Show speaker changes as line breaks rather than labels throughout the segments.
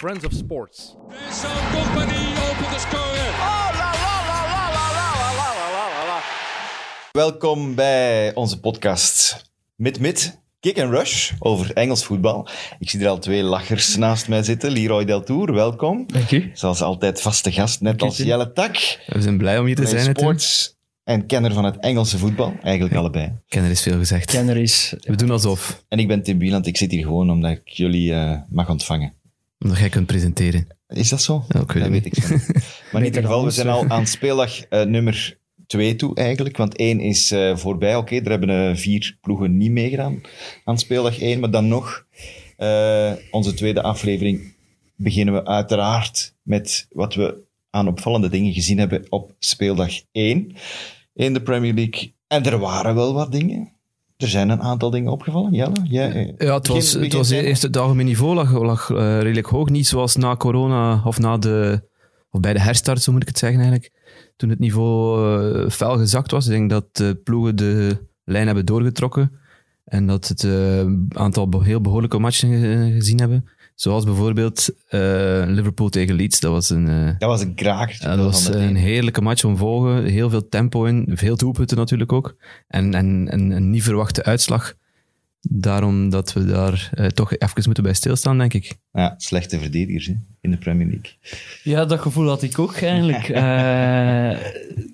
Friends of Sports.
Vincent Company opent de score. Oh, la la la la la la la la la la.
Welkom bij onze podcast Mid Mid. Kick and Rush over Engels voetbal. Ik zie er al twee lachers naast mij zitten. Leroy Deltour, welkom.
Dank u.
Zoals altijd vaste gast, net als
Jim.
Jelle Tak.
We zijn blij om hier te
Mijn
zijn. hè, Tim.
sports en kenner van het Engelse voetbal. Eigenlijk allebei.
Kenner is veel gezegd.
kenner is.
We doen alsof.
En ik ben Tim Wieland. Ik zit hier gewoon omdat ik jullie eh, mag ontvangen.
Omdat jij kunt presenteren.
Is dat zo?
Ja, ik weet
dat
het
weet ik
niet.
zo niet. Maar in ieder
dan
geval, we
ons,
zijn
hè.
al aan speeldag eh, nummer 2 toe eigenlijk. Want 1 is eh, voorbij. Oké, er hebben eh, vier ploegen niet meegedaan aan speeldag 1. Maar dan nog, eh, onze tweede aflevering beginnen we uiteraard met wat we aan opvallende dingen gezien hebben op speeldag 1 in de Premier League. En er waren wel wat dingen. Er zijn een aantal dingen opgevallen. Jelle, jij, eh,
Ja, het was,
begin-
het
begin
was
jij maar.
eerst het algemeen niveau lag, lag eh, redelijk hoog. Niet zoals na corona of na de. Of bij de herstart, zo moet ik het zeggen eigenlijk. Toen het niveau eh, fel gezakt was. Ik denk dat de ploegen de lijn hebben doorgetrokken. En dat het een aantal be- heel behoorlijke matchen eh, gezien hebben. Zoals bijvoorbeeld eh, Liverpool tegen Leeds. Dat was een. eh,
Dat was een kraker.
Ja, dat was
van de
een
ene.
heerlijke match om te volgen. Heel veel tempo in, veel doelpunten natuurlijk ook. En, en, en een niet verwachte uitslag. Daarom dat we daar eh, toch even moeten bij stilstaan, denk ik.
Ja, slechte verdedigers hè, in de Premier League.
Ja, dat gevoel had ik ook eigenlijk. Eh,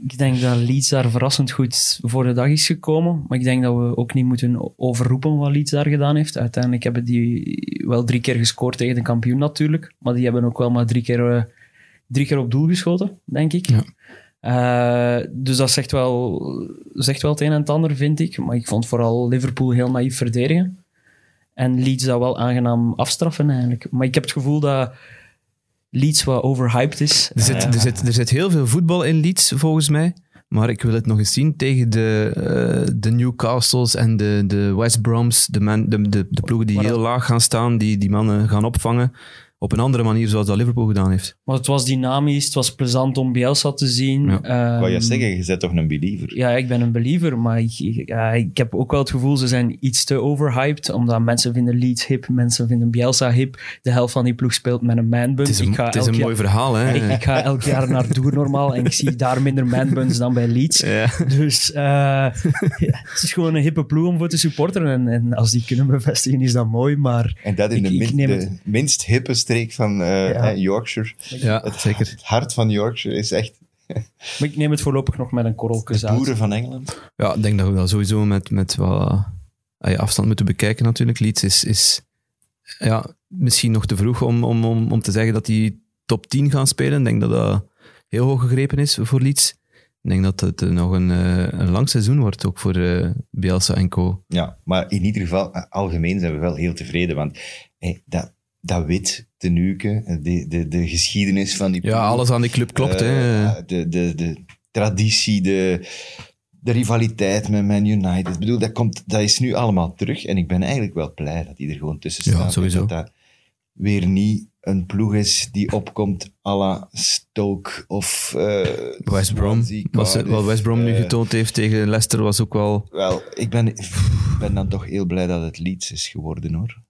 ik denk dat Leeds daar verrassend goed voor de dag is gekomen. Maar ik denk dat we ook niet moeten overroepen wat Leeds daar gedaan heeft. Uiteindelijk hebben die wel drie keer gescoord tegen de kampioen natuurlijk. Maar die hebben ook wel maar drie keer, eh, drie keer op doel geschoten, denk ik.
Ja.
Eh, dus dat zegt wel, zegt wel het een en het ander, vind ik. Maar ik vond vooral Liverpool heel naïef verdedigen. En Leeds dat wel aangenaam afstraffen eigenlijk. Maar ik heb het gevoel dat Leeds wat overhyped is.
Er zit, er zit, er zit heel veel voetbal in Leeds, volgens mij. Maar ik wil het nog eens zien tegen de, eh, de Newcastles en de, de West Broms. De, men, de, de, de ploegen die
Maar dat-
heel laag gaan staan, die die mannen gaan opvangen. Op een andere manier, zoals dat Liverpool gedaan heeft.
Maar het was dynamisch, het was plezant om Bielsa te zien.
Ja.
Ik wou je
Ehm,
zeggen, je bent toch een believer?
Ja, ik ben een believer, maar ik, ik- ja, ik heb ook wel het gevoel ze zijn iets te overhyped. Omdat mensen vinden Leeds hip, mensen vinden Bielsa hip. De helft van die ploeg speelt met een manbun.
Het is een,
ik ga
het is een
elk
mooi verhaal, hè?
jaar, ik, ik ga elk jaar naar Doer normaal en ik zie daar minder manbuns dan bij Leeds.
Ja.
Dus eh, ja, het is gewoon een hippe ploeg om voor te supporteren. En, en als die kunnen bevestigen, is dat mooi. Maar
En dat in
Ik-
de,
ik
min-
neem
de
het.
minst hippe streek van eh,
Ja.
eh, Yorkshire.
Ja, zeker.
Het hart van Yorkshire is echt
Maar ik neem het voorlopig nog met een korreltje
de
aan.
boeren van Engeland.
Ja, ik denk dat we dat sowieso met, met wat ah ja, afstand moeten bekijken natuurlijk. Leeds is, is ja, misschien nog te vroeg om, om, om, om te zeggen dat die top 10 gaan spelen. Ik denk dat dat heel hoog gegrepen is voor Leeds. Ik denk dat het eh, nog een, eh, een lang seizoen wordt, ook voor eh Bielsa en co.
Ja, maar in ieder geval, eh, algemeen zijn we wel heel tevreden. Want eh, dat, dat wit tenuke, eh, de, de, de geschiedenis van die ploeg,
Ja, alles aan die club klopt.
eh,
hè.
ja, De, de, de traditie, de, de rivaliteit met Man United. Ik bedoel, dat, komt, dat is nu allemaal terug. En ik ben eigenlijk wel blij dat die er gewoon tussen
Ja,
staat. En
sowieso.
Dat dat weer niet een ploeg is die opkomt à la Stoke of eh,
West Brom.
Swansea,
Was,
Cardiff,
wat West Brom nu
eh,
getoond heeft tegen Leicester was ook wel...
Wel, ik ben, ik ben dan toch heel blij dat het Leeds is geworden, hoor.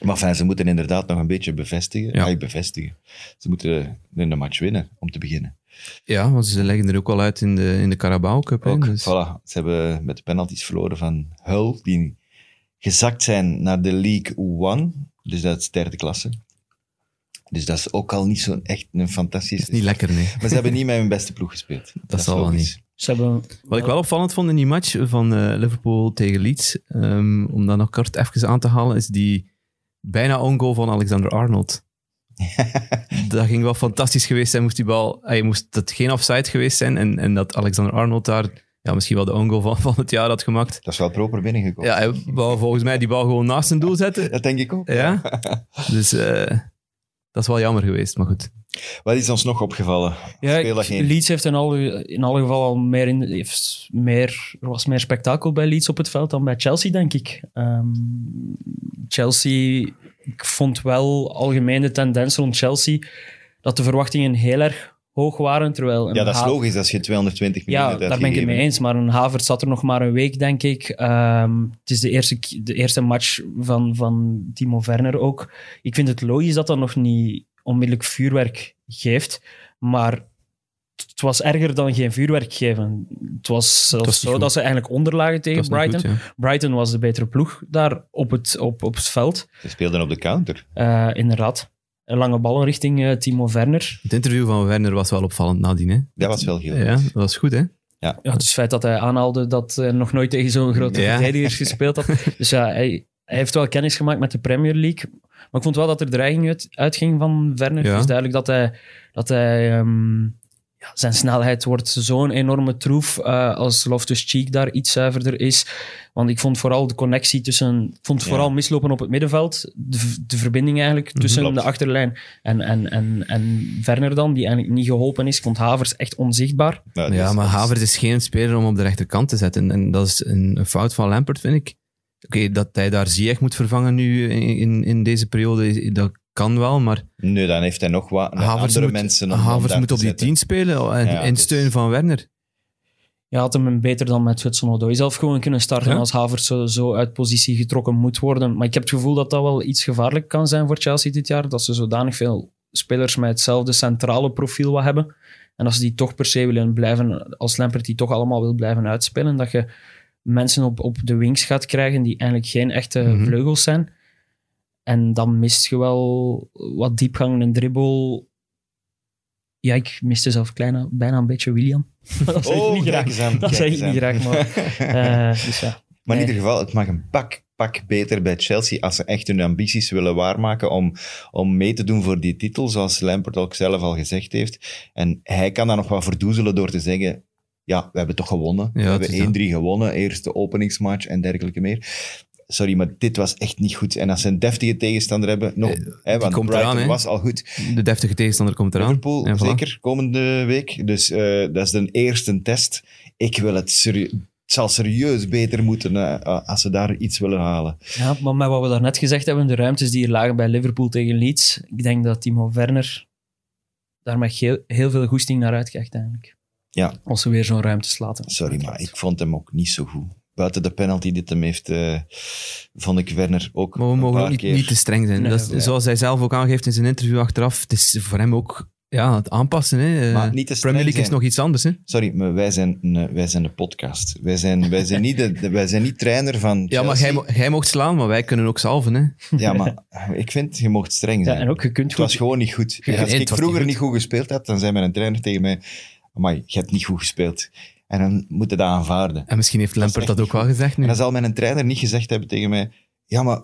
Maar fijn, ze moeten inderdaad nog een beetje bevestigen.
Ja.
Ja. bevestigen. Ze moeten in de match winnen, om te beginnen.
Ja, want ze leggen er ook al uit in de, in de Carabao Cup. hè,
Ook,
dus-
voilà. Ze hebben met de penalties verloren van Hull, die gezakt zijn naar de League One. Dus dat is derde klasse. Dus dat is ook al niet zo'n echt een fantastische...
Niet lekker, nee.
Maar ze hebben niet met hun beste ploeg gespeeld. Dat, is
zal wel
logisch.
niet.
Ze hebben
Wat ik wel opvallend vond in die match van eh, Liverpool tegen Leeds, ehm, om dat nog kort even aan te halen, is die bijna on-goal van Alexander Arnold. dat ging wel fantastisch geweest zijn, moest die bal... Hij moest dat geen offside geweest zijn en, en dat Alexander Arnold daar ja, misschien wel de on-goal van, van het jaar had gemaakt.
Dat is wel proper binnengekomen.
Ja, hij wou volgens mij die bal gewoon naast zijn doel zetten.
Dat denk ik ook.
Ja? Dus eh, dat is wel jammer geweest, maar goed.
Wat is ons nog opgevallen?
Ja,
Speeldag
ik-
één.
Leeds heeft in alle, in alle geval al meer, in, heeft meer, er was meer spektakel bij Leeds op het veld dan bij Chelsea, denk ik. Ehm, Chelsea, ik vond wel algemeen de tendens rond Chelsea dat de verwachtingen heel erg hoog waren. Terwijl een
Ja, dat is
Ha-
logisch als je 220 miljoen
Ja,
hebt
daar ben ik het mee
uitgegeven.
eens. Maar een Havertz zat er nog maar een week, denk ik. Ehm, het is de eerste, k- de eerste match van, van Timo Werner ook. Ik vind het logisch dat dat nog niet onmiddellijk vuurwerk geeft. Maar het- het was erger dan geen vuurwerk geven. Het was zelfs
was niet
zo
goed.
dat ze eigenlijk onderlagen
Dat
tegen
is niet
Brighton.
goed, ja.
Brighton was de betere ploeg daar op het, op, op het veld.
Ze speelden op de counter.
Eh, inderdaad. Een lange ballen richting eh, Timo Werner.
Het interview van Werner was wel opvallend nadien. Hè?
Dat was wel heel
Ja, dat was goed, hè?
Ja, het is het feit dat hij aanhaalde dat hij nog nooit tegen zo'n grote
Ja.
verdedigers gespeeld had. Dus ja, hij, hij heeft wel kennis gemaakt met de Premier League. Maar ik vond wel dat er dreiging uit, uitging van Werner.
Ja.
Het is duidelijk dat hij... Dat hij ehm, ja, zijn snelheid wordt zo'n enorme troef eh, als Loftus-Cheek daar iets zuiverder is. Want ik vond vooral de connectie tussen... Ik vond
Ja.
vooral mislopen op het middenveld. De, v- de verbinding eigenlijk tussen
klopt.
de achterlijn en, en, en, en Werner dan, die eigenlijk niet geholpen is. Ik vond Havers echt onzichtbaar.
Nou,
Ja,
dus-
maar
dus-
Havertz is geen speler om op de rechterkant te zetten. En dat is een, een fout van Lampert, vind ik. Oké, dat hij daar Ziyech moet vervangen nu in, in, in deze periode, is- dat kan wel, maar
Nee, dan heeft hij nog wat met
Havertz
andere
moet,
mensen om- om
Havertz
daar
moet
te
op die
zetten.
10 spelen oh, en,
Ja,
in
dus-
steun van Werner.
Je had hem beter dan met Hudson Odoi zelf gewoon kunnen starten
Ja.
als Havertz zo, zo uit positie getrokken moet worden. Maar ik heb het gevoel dat dat wel iets gevaarlijk kan zijn voor Chelsea dit jaar. Dat ze zodanig veel spelers met hetzelfde centrale profiel wat hebben. En als ze die toch per se willen blijven, als Lampert die toch allemaal wil blijven uitspelen, dat je mensen op, op de wings gaat krijgen die eigenlijk geen echte
Mhm.
vleugels zijn. En dan mist je wel wat diepgang en dribbel. Ja, ik miste zelf kleine, bijna een beetje William. dat zou ik
Oh,
niet graag
kijk eens aan,
dat
kijk
zei ik
eens
niet
aan.
graag, maar... eh, dus ja.
Maar in
Nee.
ieder geval, het mag een pak, pak beter bij Chelsea als ze echt hun ambities willen waarmaken om, om mee te doen voor die titel, zoals Lampert ook zelf al gezegd heeft. En hij kan daar nog wat verdoezelen door te zeggen, ja, we hebben toch gewonnen.
Ja,
we
het is
hebben 1-3 gewonnen, eerste openingsmatch en dergelijke meer. Sorry, maar dit was echt niet goed. En als ze een deftige tegenstander hebben, nog, hè, want
Eh, komt
Brighton
eraan, hè.
was al goed.
De deftige tegenstander komt eraan.
Liverpool,
En voilà.
zeker, komende week. Dus eh, dat is de eerste test. Ik wil het serieus... Het zal serieus beter moeten eh, eh, als ze daar iets willen halen.
ja, maar met wat we daarnet gezegd hebben, de ruimtes die er lagen bij Liverpool tegen Leeds, ik denk dat Timo Werner daar met heel, heel veel goesting naar uitkijkt eigenlijk.
Ja.
Als ze weer zo'n ruimte slaten.
Sorry, maar ik vond hem ook niet zo goed. Buiten de penalty die het hem heeft, eh, vond ik Werner ook
Maar we
een
mogen
paar
ook niet,
keer-
niet te streng zijn.
Nee,
dat is,
ja.
Zoals hij zelf ook aangeeft in zijn interview achteraf, het is voor hem ook ja, het aanpassen. Hè.
Maar
Eh,
niet te streng
Premier League is
zijn.
nog iets anders. Hè.
Sorry, maar wij zijn, een, eh, wij zijn een podcast. Wij zijn, wij zijn, niet, de, de- wij zijn niet trainer van
Ja, maar
Chelsea.
jij, mo- jij mocht slaan, maar wij kunnen ook salven. Hè.
Ja, maar ik vind, je mocht streng
Ja,
zijn.
en ook, je kunt
Het was
goed...
gewoon niet goed.
Ja,
Als
nee,
ik
het was niet
vroeger
goed.
niet goed gespeeld had, dan zei mijn trainer tegen mij: Amai, je hebt niet goed gespeeld. En dan moet je dat aanvaarden.
En misschien heeft
Dat is
Lampert
echt
dat ook wel gezegd
En
nu.
dan zal mijn trainer niet gezegd hebben tegen mij: Ja, maar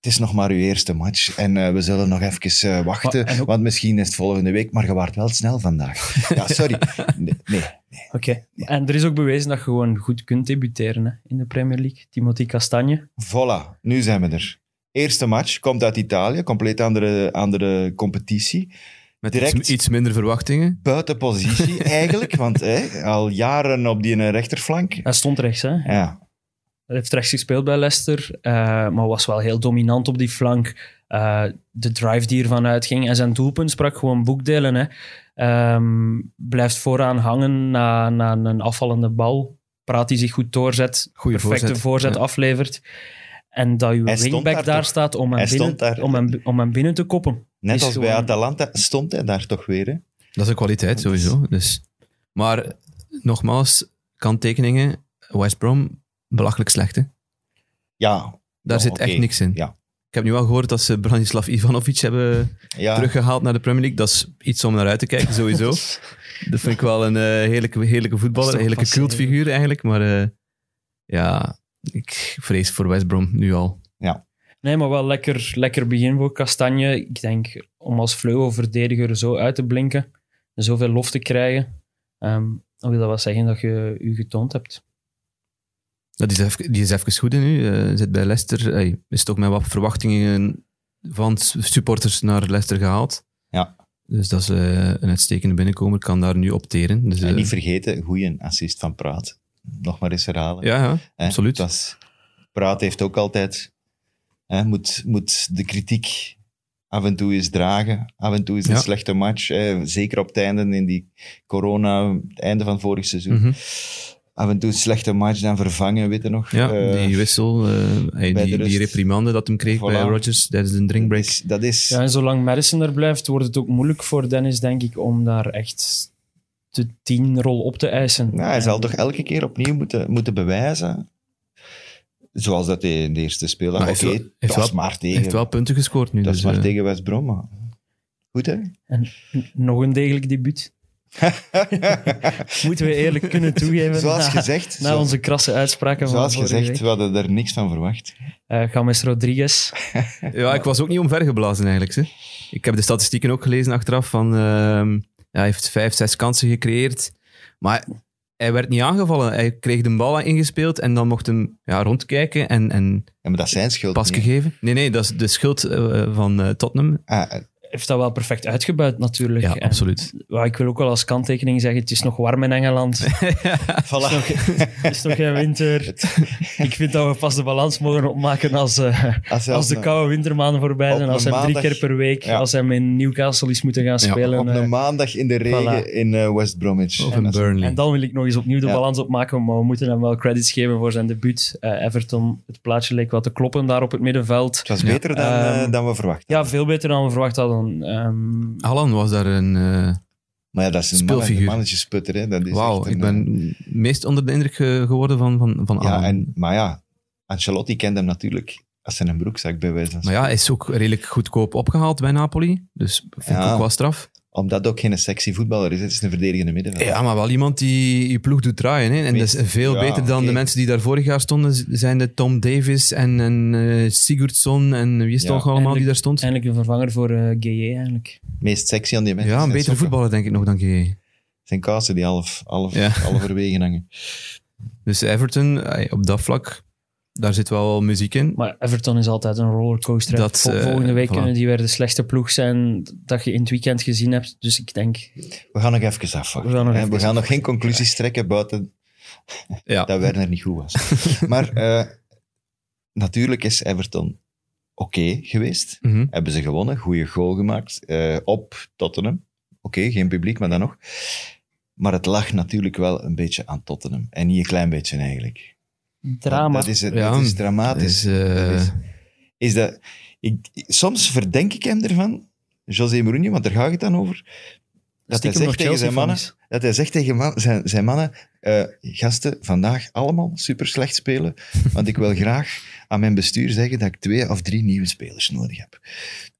het is nog maar uw eerste match. En eh, we zullen nog even eh, wachten.
Maar- en ook-
Want misschien is het volgende week, maar je waart wel snel vandaag. ja, sorry. Nee, nee.
Oké. En er is ook bewezen dat je gewoon goed kunt debuteren hè, in de Premier League. Timothy Castagne.
Voilà, nu zijn we er. Eerste match komt uit Italië, compleet andere, andere competitie.
Met
direct-
iets, iets minder verwachtingen.
Buiten positie eigenlijk, want hè, al jaren op die eh, rechterflank.
Hij stond rechts, hè?
Ja,
Hij heeft rechts gespeeld bij Leicester, eh, maar was wel heel dominant op die flank. Eh, de drive die ervan uitging en zijn doelpunt sprak gewoon boekdelen. Hè. Ehm, blijft vooraan hangen na, na een afvallende bal. Praat die zich goed doorzet,
Goeie
perfecte voorzet,
voorzet. Ja.
aflevert. En dat je
Hij stond
wingback
daar
daar,
toch?
staat om hem,
Hij
binnen,
stond daar.
om, hem, om hem binnen te koppen.
Net
Is
als bij
gewoon-
Atalanta stond hij daar toch weer. Hè?
Dat is een kwaliteit sowieso. Dus. Maar nogmaals, kanttekeningen. West Brom, belachelijk slecht. Hè?
Ja,
Daar
Ja,
zit
oké.
echt niks in.
Ja.
Ik heb nu wel gehoord dat ze Branislav Ivanovic hebben
ja.
teruggehaald naar de Premier League. Dat is iets om naar uit te kijken, sowieso. dat vind ik wel een eh, heerlijke, heerlijke voetballer, een
Dat is toch fascinerend.
heerlijke cultfiguur eigenlijk. Maar eh, ja, ik vrees voor West Brom nu al.
Nee, maar wel lekker, lekker begin voor Kastanje. Ik denk om als vleugelverdediger zo uit te blinken en zoveel lof te krijgen, ehm, dan wil dat wel zeggen dat je je getoond hebt.
Dat is even, die is even goed in nu. eh, zit bij Leicester. Hey, is toch met wat verwachtingen van s- supporters naar Leicester gehaald.
Ja.
Dus dat is eh, een uitstekende binnenkomer. Kan daar nu opteren. Dus,
En
eh,
niet vergeten, goeie assist van Praat. Nog maar eens herhalen.
ja, ja,
hè.
absoluut.
Dat is- Praat heeft ook altijd... Hè, moet, moet de kritiek Af en toe is dragen, af en toe is een
Ja.
slechte match. eh, zeker op het einde, in die corona, het einde van vorig seizoen.
Mhm.
Af en toe een slechte match, dan vervangen, weet je nog.
Ja,
Eh,
die wissel, eh, hey,
bij de
die,
rust.
die reprimande dat hem kreeg
Voilà.
bij Rodgers tijdens een drinkbreak.
Dat is, dat is
Ja, en zolang Madison er blijft, wordt het ook moeilijk voor Dennis, denk ik, om daar echt de tienrol op te eisen.
Nou, hij zal
En-
toch elke keer opnieuw moeten, moeten bewijzen. Zoals dat hij in de eerste speler.
Maar
Oké,
heeft wel-
dat
heeft
was
wel-
maar
Hij
tegen.
heeft wel punten gescoord nu.
dat
dus,
is maar
eh,
tegen West Brom. maar Goed, hè?
Nog een degelijk debuut. Moeten we eerlijk kunnen toegeven.
zoals
na,
gezegd,
na
zo-
onze krasse uitspraken van
zoals
vorige
gezegd
week.
we hadden er niks van verwacht.
Eh, James Rodriguez.
Ja, ik was ook niet omvergeblazen eigenlijk. Hè. Ik heb de statistieken ook gelezen achteraf. Van, ehm, ja, hij heeft vijf, zes kansen gecreëerd. Maar hij werd niet aangevallen. Hij kreeg de bal ingespeeld en dan mocht hem ja, rondkijken en, en
Ja, maar dat is zijn schuld
pas
niet, hè.
gegeven. Nee, nee, dat is de schuld eh, van eh, Tottenham.
Ah, eh,
Heeft dat wel perfect uitgebuit, natuurlijk.
Ja,
En-
absoluut.
Wat ik wil ook wel als kanttekening zeggen, het is nog warm in Engeland. Het
voilà.
is nog geen winter. Ik vind dat we pas de balans mogen opmaken als, eh,
Als, hij
als de
op
koude wintermaanden voorbij
op
zijn. Als
een
hij drie
maandag-
keer per week,
Ja.
als hij in Newcastle is moeten gaan
Ja,
een-
spelen.
Op
eh,
een maandag in de regen in eh, West Bromwich.
Of
En
een
als-
Burnley.
En dan wil ik nog eens opnieuw de
Ja.
balans opmaken, maar we moeten hem wel credits geven voor zijn debuut. Eh, Everton, het plaatje leek wel te kloppen daar op het middenveld.
Het was beter dan,
Ehm,
eh, dan we verwachten.
Ja, veel beter dan we verwacht hadden. Ehm,
Haaland was daar een... eh,
Maar ja, dat is een mannetje,
Speelfiguur.
mannetjesputter. Hè. Dat is
Wauw,
echt een,
ik ben meest onder de indruk eh, geworden van, van, van
Ja,
Alan.
en, maar ja, Ancelotti kent hem natuurlijk als zijn broekzak bij wijze van
Maar ja, hij is ook redelijk goedkoop opgehaald bij Napoli. Dus vind
Ja.
ik ook wel straf.
Omdat het ook geen sexy voetballer is. Het is een verdedigende middenvelder.
Ja, maar wel iemand die je ploeg doet draaien. Hè? En dat is veel
Ja,
beter dan
oké.
de mensen die daar vorig jaar stonden. Z- Zijn de Tom Davis en, en eh, Sigurdsson en wie is het
Ja.
nog allemaal die daar stond?
Eindelijk een vervanger voor eh GE eigenlijk.
Meest sexy aan die mensen.
ja, een
zijn
betere
sokken.
voetballer denk ik nog dan GE.
Zijn kousen die half, half,
Ja.
halverwege hangen.
Dus Everton, eh, op dat vlak, daar zit wel muziek in.
Maar Everton is altijd een rollercoaster. hè.
Dat,
Vol-
eh,
Volgende week
voilà.
kunnen die weer de slechtste ploeg zijn dat je in het weekend gezien hebt. Dus ik denk,
We gaan nog even afwachten.
We gaan nog
hè.
even
we gaan nog geen conclusies trekken buiten
Ja.
dat Werner niet goed was. maar eh, natuurlijk is Everton oké geweest.
Mhm.
Hebben ze gewonnen, goede goal gemaakt eh, op Tottenham. Oké, geen publiek, maar dan nog. Maar het lag natuurlijk wel een beetje aan Tottenham. En niet een klein beetje eigenlijk.
drama.
Dat, dat is, het,
Ja,
dat is dramatisch.
Dus, eh,
Dat is, is dat, ik, soms verdenk ik hem ervan, José Mourinho, want daar ga ik het dan over. Dat hij
Stiekem nog
zegt tegen
Chelsea
zijn mannen,
fans.
dat hij zegt tegen man- zijn, zijn mannen, eh, gasten, vandaag allemaal super slecht spelen, want ik wil graag aan mijn bestuur zeggen dat ik twee of drie nieuwe spelers nodig heb.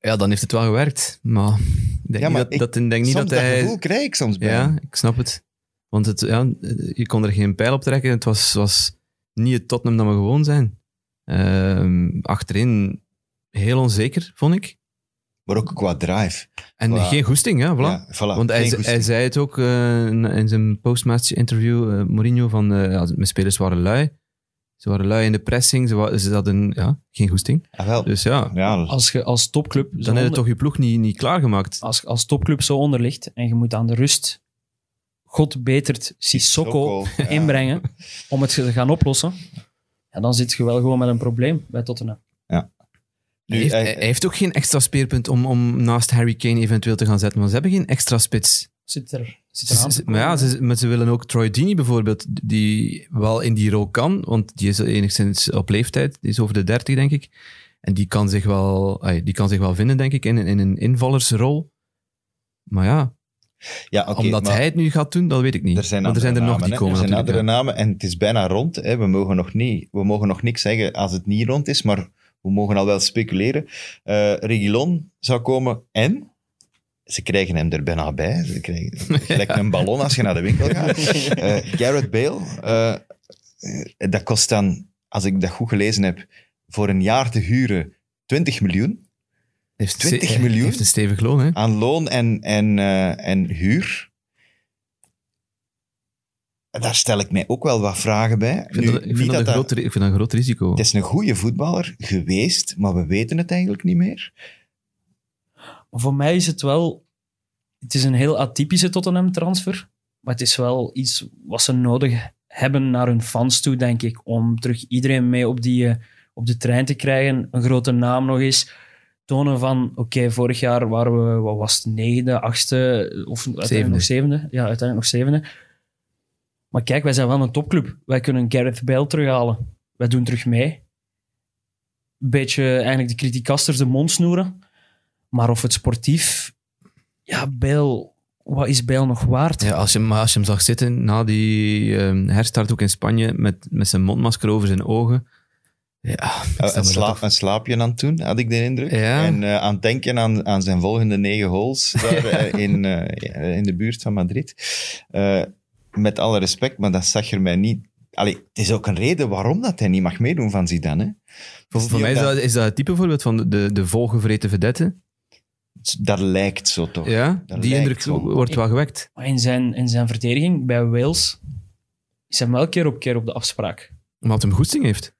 ja, dan heeft het wel gewerkt. Maar ik denk
Ja, maar
niet dat,
ik-
dat, ik denk niet
soms
dat hij...
gevoel krijg ik soms bij hem.
Ja, ik snap het. Want het, ja, je kon er geen pijl op trekken. Het was, was niet het Tottenham dat we gewoon zijn. Ehm, achterin heel onzeker, vond ik.
Maar ook qua drive.
En
Voilà.
geen goesting, ja, voilà.
Ja, voilà.
Want hij,
Geen
ze-
goesting.
hij zei het ook eh, in- in zijn postmatch interview, eh, Mourinho, van eh, ja, mijn spelers waren lui. Ze waren lui in de pressing, ze, wa- ze hadden ja, geen goesting.
Ah, wel.
Dus ja,
ja,
Als je als topclub zo
dan heb je
onder-
toch je ploeg niet, niet klaargemaakt.
Ah,
als, als topclub zo onder ligt en je moet aan de rust God betert Sissoko
Sokko, ja.
inbrengen om het te gaan oplossen, ja, dan zit je wel gewoon met een probleem bij Tottenham.
Nu,
hij, heeft,
hij-
hij- hij heeft ook geen extra speerpunt om, om naast Harry Kane eventueel te gaan zetten, want ze hebben geen extra spits.
Zit er, zit er
Ze-
aan te
ze- maar ja,
komen.
ze, maar ze willen ook Troy Deeney bijvoorbeeld, die wel in die rol kan, want die is enigszins op leeftijd, die is over de 30 denk ik. En die kan zich wel, ai, die kan zich wel vinden, denk ik, in, een- in een invallersrol. Maar ja,
ja, oké,
omdat
maar
hij het nu gaat doen, dat weet ik niet.
Er zijn,
Want er zijn er nog
namen,
die
hè.
komen
Er zijn andere
natuurlijk,
namen en het is bijna rond. Hè. We, mogen nog niet, we mogen nog niks zeggen als het niet rond is, maar we mogen al wel speculeren. Eh Regilon zou komen en ze krijgen hem er bijna bij. Ze krijgen gelijk een ballon als je naar de winkel gaat. Eh, Gareth Bale, eh, eh, dat kost dan, als ik dat goed gelezen heb, voor een jaar te huren 20 miljoen
ja. heeft
20
ze-
miljoen?
Heeft een stevig loon, hè.
aan loon en, en, eh, en huur. Daar stel ik mij ook wel wat vragen bij.
Ik vind,
Nu,
dat, ik,
niet
vind dat een
dat-
groot, ri- ik vind dat een groot risico.
Het is een goede voetballer geweest, maar we weten het eigenlijk niet meer.
Maar voor mij is het wel... Het is een heel atypische Tottenham-transfer. Maar het is wel iets wat ze nodig hebben naar hun fans toe, denk ik. Om terug iedereen mee op, die, eh, op de trein te krijgen. Een grote naam nog eens. tonen van, oké, vorig jaar waren we, wat was het, negende, achtste, of uiteindelijk
Zevende.
nog zevende. Ja, uiteindelijk nog zevende. Maar kijk, wij zijn wel een topclub. Wij kunnen Gareth Bale terughalen. Wij doen terug mee. Beetje eigenlijk de criticasters de mond snoeren. Maar of het sportief... Ja, Bale... Wat is Bale nog waard?
Ja, als je, maar als je hem zag zitten na die ehm, herstart ook in Spanje met, met zijn mondmasker over zijn ogen. Ja, ik
Eh,
stel
Een,
me dat
sla-
af.
een slaapje aan toen, had ik de indruk.
Ja.
En eh, aan het denken aan, aan zijn volgende negen holes daar, eh, in, eh, in de buurt van Madrid. Eh, met alle respect, maar dat zag er mij niet... Allee, het is ook een reden waarom dat hij niet mag meedoen van Zidane. Hè?
voor, voor
die
mij is
omdat-
dat, is dat het type voorbeeld van de, de, de volgevreten vedette.
Dat lijkt zo toch.
Ja,
dat
die
lijkt
indruk
wel.
wordt wel gewekt.
Maar in zijn, in zijn verdediging bij Wales is hij wel keer op keer op de afspraak.
Omdat hem goesting heeft.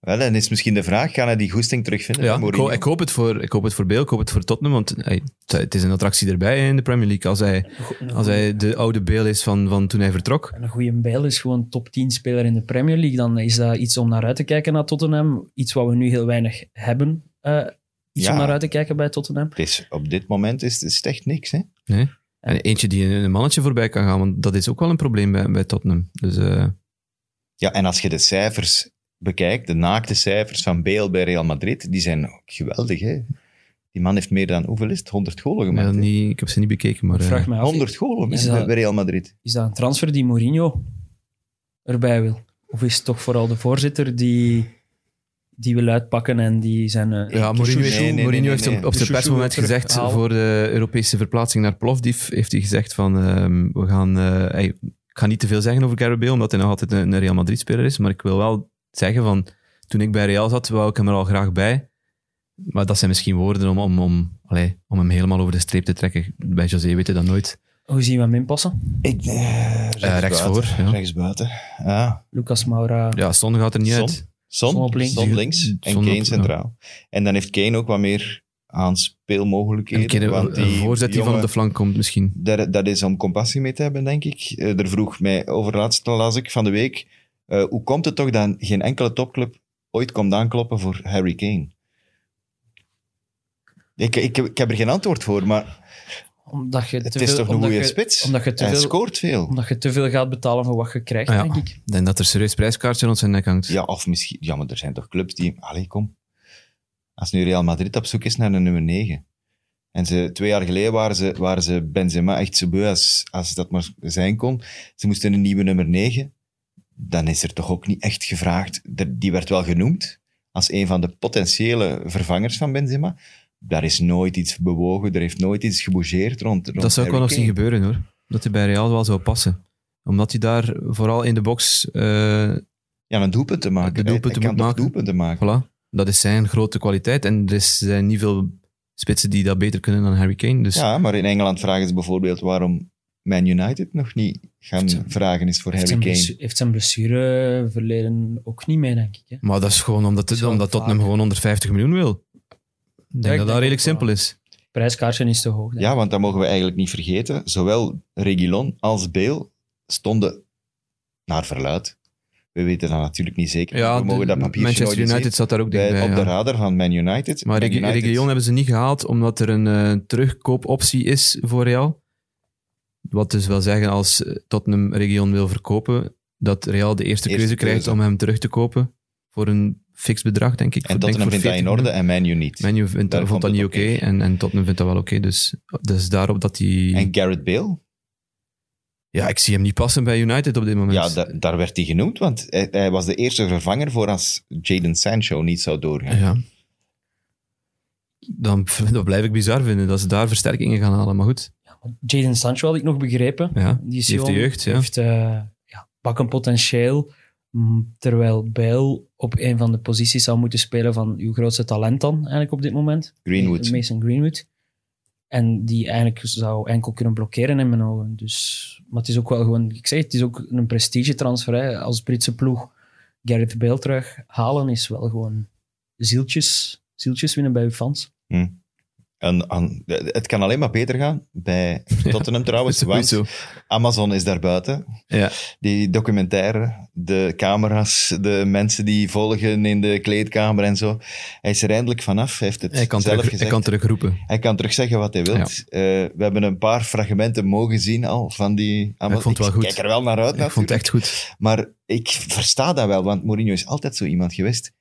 Wel, en is misschien de vraag, gaan hij die goesting terugvinden?
Ja,
bij
ik,
Mourinho?
ho- ik hoop het voor, ik hoop het voor Bale, ik hoop het voor Tottenham, want hey, het- het is een attractie erbij in de Premier League. Als hij, als hij de oude Bale is van, van toen hij vertrok.
En een goede Bale is gewoon top 10 speler in de Premier League. Dan is dat iets om naar uit te kijken naar Tottenham. Iets wat we nu heel weinig hebben. eh, iets
Ja.
om naar uit te kijken bij Tottenham.
Het is, Dus op dit moment is, is het echt niks. Hè?
En eentje die een een mannetje voorbij kan gaan, want dat is ook wel een probleem bij, bij Tottenham. Dus eh,
Ja, en als je de cijfers bekijkt, de naakte cijfers van Bale bij Real Madrid, die zijn ook geweldig. Hè? Die man heeft meer dan, hoeveel is het? 100 golen
ja,
gemaakt. hè?
niet, ik heb ze niet bekeken, maar...
Ik
eh,
vraag mij af,
100 golen
Is
hè,
dat-
bij Real Madrid.
is dat een transfer die Mourinho erbij wil? Of is het toch vooral de voorzitter die, die wil uitpakken en die zijn... eh,
Ja, Mourinho,
Nee, nee, nee,
Mourinho
nee,
heeft hem
nee.
op zijn
Kushushu
persmoment
wil
gezegd,
terughalen.
voor de Europese verplaatsing naar Plovdiv, heeft hij gezegd van, ehm, we gaan... eh, hey, ik ga niet te veel zeggen over Gareth Bale, omdat hij nog altijd een, een Real Madrid-speler is, maar ik wil wel zeggen van, toen ik bij Real zat, wou ik hem er al graag bij. Maar dat zijn misschien woorden om, om, om, allee, om hem helemaal over de streep te trekken. Bij José weet je dat nooit.
Hoe zien we hem inpassen?
Ik,
Eh, rechtsvoor, ja.
Rechtsbuiten. Ja.
Lucas Moura...
Ja, Son gaat er niet
Son?
uit.
Son,
Son
Son
op links.
links. en
Son op-
Kane
ja.
centraal. En dan heeft Kane ook wat meer
En een
aanspeelmogelijkheden.
keer
want
een,
die,
een voorzet die van op
jongen-
de flank komt misschien.
Daar, dat is om compassie mee te hebben, denk ik. Eh, Er vroeg mij overlaatst, las ik van de week, eh, hoe komt het toch dat geen enkele topclub ooit komt aankloppen voor Harry Kane? Ik, ik, heb- ik heb er geen antwoord voor, maar
Omdat je
het
te
is
veel,
toch een
omdat
goede
je-
spits?
Omdat je, te
Hij
veel,
scoort Ah veel.
omdat je te veel gaat betalen voor wat je krijgt,
Ja.
denk ik.
Ik denk dat er serieus prijskaartje rond zijn nek hangt.
Ja, of misschien... Ja, maar er zijn toch clubs die... Allee, kom. Als nu Real Madrid op zoek is naar een nummer 9. En ze, twee jaar geleden waren ze, waren ze Benzema echt zo beu als, als dat maar zijn kon. Ze moesten een nieuwe nummer 9. Dan is er toch ook niet echt gevraagd... Er- Die werd wel genoemd als een van de potentiële vervangers van Benzema. Daar is nooit iets bewogen, er heeft nooit iets gebougeerd rond, rond
Dat zou ik wel nog
Harry
zien
Kane.
gebeuren hoor. Dat hij bij Real wel zou passen. Omdat hij daar vooral in de box. eh,
Ja, een doelpunt te maken.
De doelpunten
Hij- hij kan
moet
toch
maken.
doelpunten maken.
voilà, dat is zijn grote kwaliteit. En er is- zijn niet veel spitsen die dat beter kunnen dan Harry Kane. Dus
Ja, maar in Engeland vragen ze bijvoorbeeld waarom Man United nog niet gaan
Heeft-
vragen is voor
Heeft
Harry
zijn,
Kane.
blessu- heeft zijn blessure verleden ook niet mee, denk ik. Hè?
Maar dat is gewoon omdat,
is wel
omdat Tottenham
vaak.
gewoon 150 miljoen wil. Ik
ik
denk dat
denk
dat redelijk
ook wel.
simpel is.
Prijskaartje is te hoog. denk ik.
Ja, want dat mogen we eigenlijk niet vergeten. Zowel Reguilon als Bale stonden naar verluid. We weten dat natuurlijk niet zeker.
Ja,
we mogen
de-
dat papiertje nooit
Manchester
eens
United zat daar ook
zien.
dicht
Bij-
bij.
op de
ja.
radar van Man United.
Maar
Man
Reg-
United-
Region hebben ze niet gehaald omdat er een eh, terugkoopoptie is voor Real. Wat dus wil zeggen, als eh, Tottenham Region wil verkopen, dat Real de eerste keuze
Eerste
krijgt
keuze.
om hem terug te kopen voor een fix bedrag, denk ik.
En
Voor- denk
Tottenham
voor
vindt dat in
40
orde
miljoen.
en Man U niet.
Menu vindt,
Daar
dat-
komt
vond dat
het
niet
op
oké
neer.
en, en Tottenham vindt dat wel oké. Dus dat is daarop dat hij...
En Garrett Bale?
Ja, ik zie hem niet passen bij United op dit moment.
Ja, da- daar werd hij genoemd, want hij, hij was de eerste vervanger voor als Jadon Sancho niet zou doorgaan.
Ja. Dan, dat blijf ik bizar vinden, dat ze daar versterkingen gaan halen. Maar goed,
Jadon Sancho had ik nog begrepen.
ja.
Die, is
die heeft de
jong,
jeugd. Ja.
heeft eh, ja, pak een potentieel. Mm, Terwijl Bale op een van de posities zou moeten spelen van uw grootste talent dan, eigenlijk op dit moment.
Greenwood.
Mason Greenwood. En die eigenlijk zou enkel kunnen blokkeren in mijn ogen. Dus, maar het is ook wel gewoon, ik zeg het, het is ook een prestige transfer. Hè. Als Britse ploeg Gareth Bale terug halen is wel gewoon zieltjes, zieltjes winnen bij uw fans.
En, aan- het kan alleen maar beter gaan bij Tottenham trouwens.
Sowieso.
Want Amazon is daar buiten.
Ja.
Die documentaire, de camera's, de mensen die volgen in de kleedkamer en zo. Hij is er eindelijk vanaf. Hij heeft het
Hij kan,
zelf
terug, hij
gezegd.
kan terugroepen.
Hij kan terug zeggen wat hij wil. we hebben een paar fragmenten mogen zien al van die Amazon.
Ik vond het wel goed.
kijk er wel naar uit
Ik vond het
natuurlijk.
echt goed.
Maar ik versta dat wel, want Mourinho is altijd zo iemand geweest.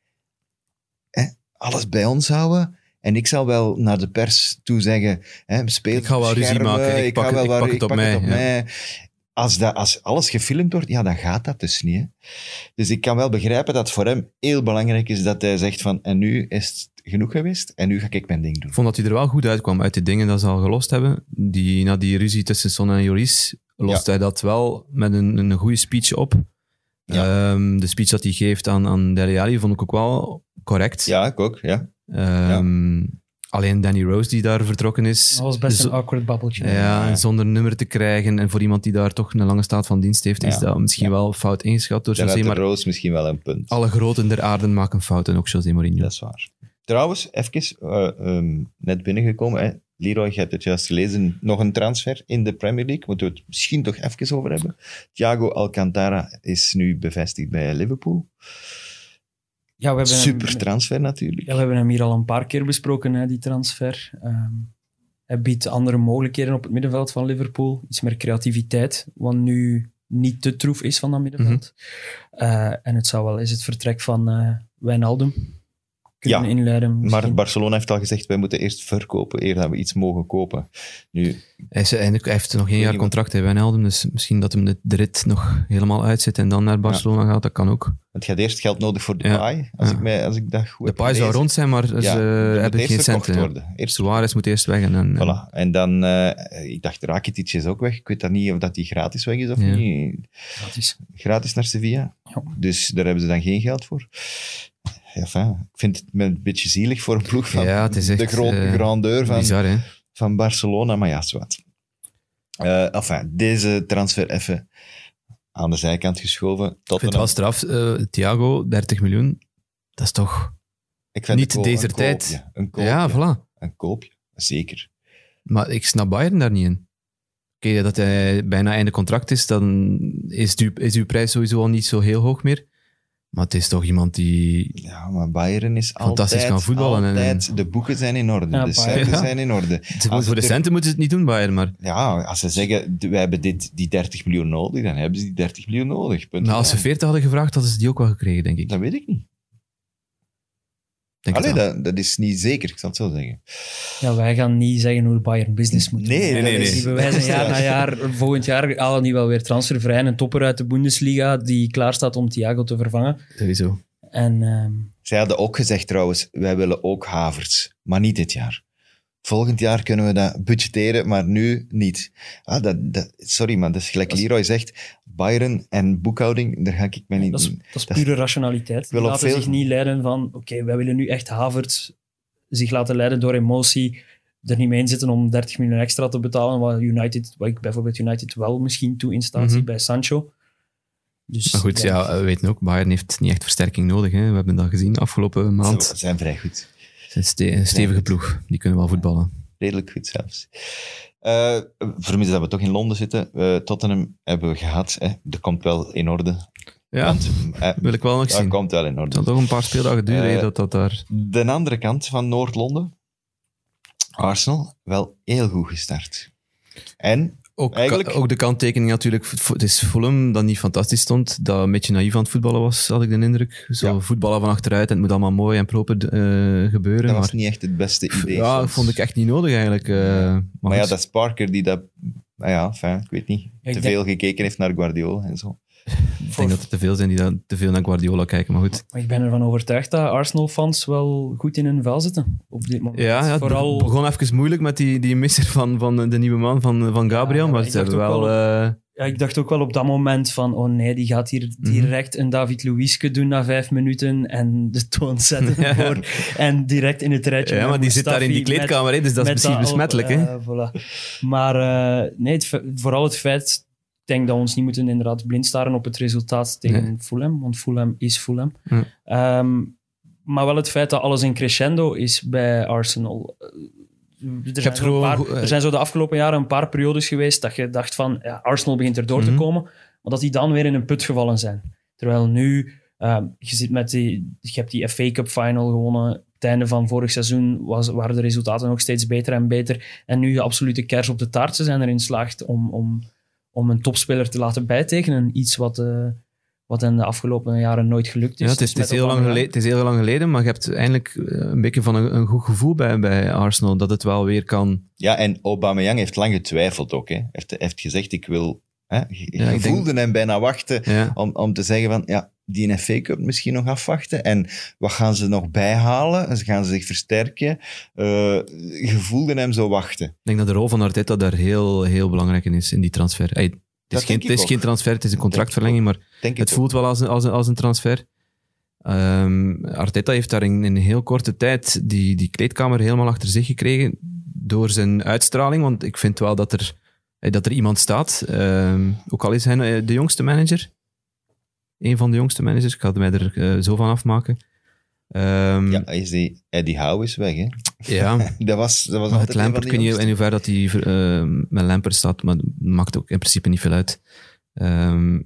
Hè, alles bij ons houden. En ik zal wel naar de pers toe zeggen: hè, speel,
Ik ga wel ruzie
schermen,
maken, ik pak
ga
het-
wel
ik
waar-
pak het op mij, ja.
Als, dat, als alles gefilmd wordt, ja, dan gaat dat dus niet. Hè. Dus ik kan wel begrijpen dat voor hem heel belangrijk is dat hij zegt van en nu is het genoeg geweest en nu ga ik mijn ding doen.
Ik vond dat hij er wel goed uitkwam uit de dingen dat ze al gelost hebben. Die, na die ruzie tussen Son en Joris lost hij dat wel met een, een goede speech op. Ehm, de speech dat hij geeft aan, aan Dele Alli vond ik ook wel correct.
Ja, ik ook. Ja.
Ehm, Alleen Danny Rose die daar vertrokken is.
Dat was best
zo-
een awkward babbeltje.
ja,
Ja.
zonder nummer te krijgen. En voor iemand die daar toch een lange staat van dienst heeft, is
Ja.
dat misschien
Ja.
wel fout ingeschat door
Dan had
José.
de
Maar
Roos misschien wel een punt.
alle groten der aarde maken fouten, ook José Mourinho.
Dat is waar. Trouwens, even, eh, ehm, net binnengekomen, hè. Leroy, je hebt het juist gelezen, nog een transfer in de Premier League, moeten we het misschien toch even over hebben. Thiago Alcantara is nu bevestigd bij Liverpool.
Ja, we hebben
Super
hem,
transfer natuurlijk.
ja, we hebben hem hier al een paar keer besproken, hè, die transfer. Ehm, hij biedt andere mogelijkheden op het middenveld van Liverpool. Iets meer creativiteit, wat nu niet te troef is van dat middenveld. Eh, en het zou wel eens het vertrek van eh Wijnaldum kunnen
Ja,
inleiden.
Maar
misschien.
Barcelona heeft al gezegd, wij moeten eerst verkopen, eer dat we iets mogen kopen. Nu,
Hij, is, hij heeft nog één
weet
jaar
niet
contract hè, bij Wijnaldum, dus misschien dat hem de, de rit nog helemaal uitzit en dan naar Barcelona gaat, dat kan ook.
want je had eerst geld nodig voor de
Ja,
paai, als,
ja.
ik mij, als ik dat goed
De
heb
paai zou
gelezen.
rond zijn, maar ze
Ja, die moet
hebben
eerst
geen
verkocht
centen. ja.
worden. Eerst
Suarez moet eerst weg. En, en-
Voilà. En dan, eh, ik dacht, Rakitic is ook weg. Ik weet dan niet of dat die gratis weg is of
Ja.
niet.
Dat is-
gratis naar Sevilla.
Ja.
Dus daar hebben ze dan geen geld voor. Ja, fijn. ik vind het een beetje zielig voor een ploeg van
Ja, het is echt,
de grote
eh,
grandeur van,
Bizar, hè?
van Barcelona. Maar ja, zwart. Eh enfin, deze transfer even aan de zijkant geschoven.
Ik vind het wel
Tottenham.
straf. eh, Thiago, 30 miljoen. Dat is toch...
Ik vind
niet
een ko-
deze
een
tijd.
koopje. een koopje.
ja, voilà.
Een koopje, zeker.
Maar ik snap Bayern daar niet in. Oké, dat hij bijna einde contract is, dan is, die, is uw prijs sowieso al niet zo heel hoog meer. Maar het is toch iemand die...
Ja, maar Bayern is
Fantastisch
altijd...
gaan voetballen en-
Altijd, de boeken zijn in orde,
Ja,
de
Bayern.
centen
Ja.
zijn in orde. Als
voor de
het er-
centen moeten ze het niet doen, Bayern, maar...
Ja, als ze zeggen, we hebben dit, die 30 miljoen nodig, dan hebben ze die 30 miljoen nodig. Punt.
Nou, als ze
Ja.
40 hadden gevraagd, hadden ze die ook wel gekregen, denk ik.
Dat weet ik niet.
Denk
Allee,
het wel.
dat, dat is niet zeker, ik zal het zo zeggen.
Ja, wij gaan niet zeggen hoe Bayern business moet
Nee,
doen.
nee, nee,
Dus
nee.
Die bewijzen
Ja.
jaar na jaar, volgend jaar halen die wel weer transfervrij en een topper uit de Bundesliga die klaar staat om Thiago te vervangen.
Sowieso.
En ehm,
Zij hadden ook gezegd trouwens, wij willen ook havers, maar niet dit jaar. Volgend jaar kunnen we dat budgetteren, maar nu niet. Ah, dat, dat, sorry, maar dat is gelijk Leroy zegt, Bayern en boekhouding, daar ga ik me niet...
dat, is, dat is
dat is-
pure rationaliteit. Die
wil op
laten
veel-
zich niet leiden van, oké, wij willen nu echt Havertz zich laten leiden door emotie, er niet mee inzitten om 30 miljoen extra te betalen, wat, United, wat ik bijvoorbeeld United wel misschien toe in staat zie
Mhm.
bij Sancho. Dus,
Maar goed,
ja,
ja, we weten ook, Bayern heeft niet echt versterking nodig. Hè. We hebben dat gezien afgelopen
Ze
maand.
zijn vrij goed.
Het is een ste- een stevige ploeg. Die kunnen wel voetballen.
Redelijk goed zelfs. Eh vermis dat we toch in Londen zitten. Eh, Tottenham hebben we gehad. Hè. Dat komt wel in orde.
Ja,
Eh,
wil ik wel nog
dat
zien.
komt wel in
Het
orde.
zal toch een paar speeldagen duren
Eh,
hè, dat dat daar...
De andere kant van Noord-Londen, Arsenal, wel heel goed gestart. En
Ook,
Eigenlijk-
ook de kanttekening natuurlijk. Vo- Het is Fulham dat niet fantastisch stond. Dat een beetje naïef aan het voetballen was, had ik de indruk. Zo
Ja.
voetballen van achteruit en het moet allemaal mooi en proper eh, gebeuren.
dat was
maar,
niet echt het beste idee.
ja,
soms.
vond ik echt niet nodig eigenlijk. eh, maar
Maar ja,
goed.
dat is Parker die dat... Nou ja, enfin, ik weet niet.
Ik
te
denk-
veel gekeken heeft naar Guardiola en zo.
ik denk dat er te veel zijn die dan te veel naar Guardiola kijken. Maar goed,
Maar ik ben ervan overtuigd dat Arsenal-fans wel goed in hun vel zitten op dit moment.
ja, ja, het
Vooral,
be- begon even moeilijk met die, die misser van, van de nieuwe man van, van Gabriel.
Ja,
maar
ik
het
dacht
hebben
ook
wel... eh,
ja, ik dacht ook wel op dat moment van, oh nee, die gaat hier
Mhm.
direct een David Luiske doen na vijf minuten en de toon zetten
Ja.
voor en direct in het rijtje.
ja,
met
maar die zit daar in die
Mustafi, met-
kleedkamer, hè, dus dat
met
is misschien
dat al-
besmettelijk. hè?
eh, voilà. Maar eh, nee, het fe- vooral het feit, ik denk dat we ons niet moeten inderdaad blind staren op het resultaat tegen
Nee.
Fulham, want Fulham is Fulham.
Hm.
Ehm, maar wel het feit dat alles in crescendo is bij Arsenal. Eh, er, zijn
hebt
zo een
gewoon
paar-
go- eh,
er zijn zo de afgelopen jaren een paar periodes geweest dat je dacht van ja, Arsenal begint erdoor
Mhm.
te komen, maar dat die dan weer in een put gevallen zijn. Terwijl nu, ehm, je, zit met die, je hebt die FA Cup final gewonnen. Het einde van vorig seizoen was, waren de resultaten nog steeds beter en beter. En nu de absolute kers op de taart. Ze zijn erin slaagd om, om, om een topspeler te laten bijtekenen. Iets wat, eh, wat in de afgelopen jaren nooit gelukt is.
Ja, het, is,
Dus
het,
met
is heel lang
Aubameyang-
geleden, het is heel lang geleden, maar je hebt eindelijk eh, een beetje van een, een goed gevoel bij, bij Arsenal dat het wel weer kan.
Ja, en Aubameyang heeft lang getwijfeld ook. Hè. Hij heeft, hij heeft gezegd, ik wil... Hè, je
Ja,
je
ik denk-
voelde hem bijna wachten
Ja.
om, om te zeggen van, ja, die FA Cup misschien nog afwachten. En wat gaan ze nog bijhalen? En Ze gaan zich versterken. Eh je voelde hem zo wachten.
Ik denk dat de rol van Arteta daar heel, heel belangrijk in is, in die transfer. Ey, het
Dat
is, geen,
denk
het
ik
is
ook.
geen transfer, het is een contractverlenging, maar
Denk
Het
ik
voelt wel als een, als een, als een transfer. Ehm, Arteta heeft daar in een heel korte tijd die, die kleedkamer helemaal achter zich gekregen door zijn uitstraling. Want ik vind wel dat er, eh, dat er iemand staat. Ehm, ook al is hij eh, de jongste manager. Een van de jongste managers. Ik had mij er eh, zo van afmaken. Ehm,
ook.
ja,
Ja, is die, Eddie Howe is weg, hè. Dat was, dat was
Maar
altijd
het
een van
Lampert,
die
ik weet niet
jongsten.
in hoeverre dat hij eh, met Lampert staat, maar dat maakt ook in principe niet veel uit. Ehm,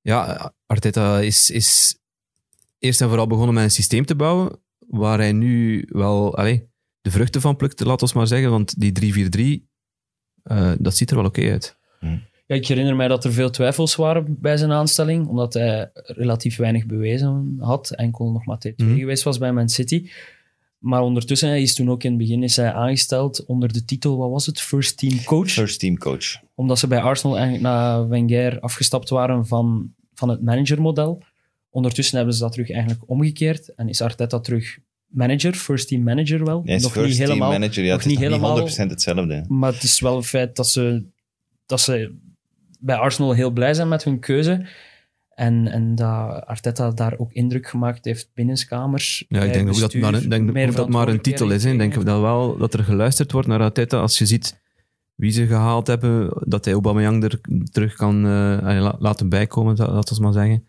ja, Arteta is, is eerst en vooral begonnen met een systeem te bouwen, waar hij nu wel allez, de vruchten van plukt, laat ons maar zeggen, want die 3-4-3, eh, dat ziet er wel oké uit.
Ja, ik herinner mij dat er veel twijfels waren bij zijn aanstelling, omdat hij relatief weinig bewezen had. Enkel nog maar T2
Mhm.
geweest was bij Man City. Maar ondertussen, hij is toen ook in het begin is hij aangesteld onder de titel, wat was het? First Team Coach.
First team coach.
Omdat ze bij Arsenal eigenlijk na Wenger afgestapt waren van, van het managermodel. Ondertussen hebben ze dat terug eigenlijk omgekeerd en is Arteta terug manager, first team manager wel.
Hij is
nog
first
niet helemaal,
team manager. Ja,
nog
het is
niet
nog niet
helemaal-
100% hetzelfde. hè.
maar het is wel een feit dat ze, dat ze bij Arsenal heel blij zijn met hun keuze. En, en dat Arteta daar ook indruk gemaakt heeft binnenskamers.
Ja, ik
Eh,
denk ook dat het maar, een- denk ook dat het maar een titel is. hè. Ik denk dat wel dat er geluisterd wordt naar Arteta als je ziet wie ze gehaald hebben, dat hij Aubameyang er terug kan eh, allee, la- laten bijkomen, dat- laten we maar zeggen.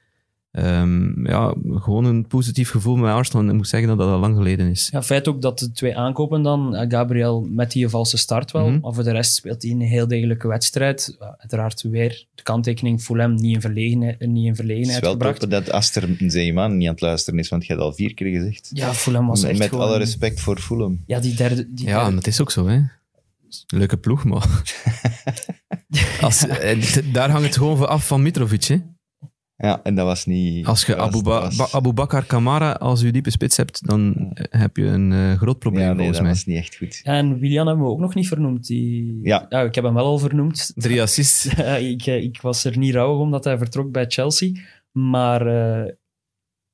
Ehm, ja, gewoon een positief gevoel met Arsenal. En ik moet zeggen dat dat al lang geleden is.
Ja, feit ook dat de twee aankopen dan. eh, Gabriel met die valse start wel.
Mhm.
Maar voor de rest speelt hij een heel degelijke wedstrijd. Ja, Uiteraard weer de kanttekening Fulham niet in verlegenheid, niet in
Het
verlegenheid
is wel
gebracht.
top dat Aster Zeeman niet aan het luisteren is, want je hebt al vier keer gezegd.
Ja, Fulham was echt
Met
gewoon-
alle respect voor Fulham.
Ja, die derde... Die
Ja,
derde-
en dat is ook zo, hè. Leuke ploeg, maar... Als, eh, d- daar hangt het gewoon van af van Mitrovic, hè.
Ja, en dat was niet...
Als je
dat was-
Abu,
dat was-
Bakar Kamara als je diepe spits hebt, dan eh, heb je een eh, groot probleem,
Ja, nee,
volgens
dat
mij.
was niet echt goed.
En Willian hebben we ook nog niet vernoemd. Die...
Ja.
ik heb hem wel al vernoemd.
Drie assists.
Eh, ik, eh, ik was er niet rouwig om dat hij vertrok bij Chelsea. Maar eh,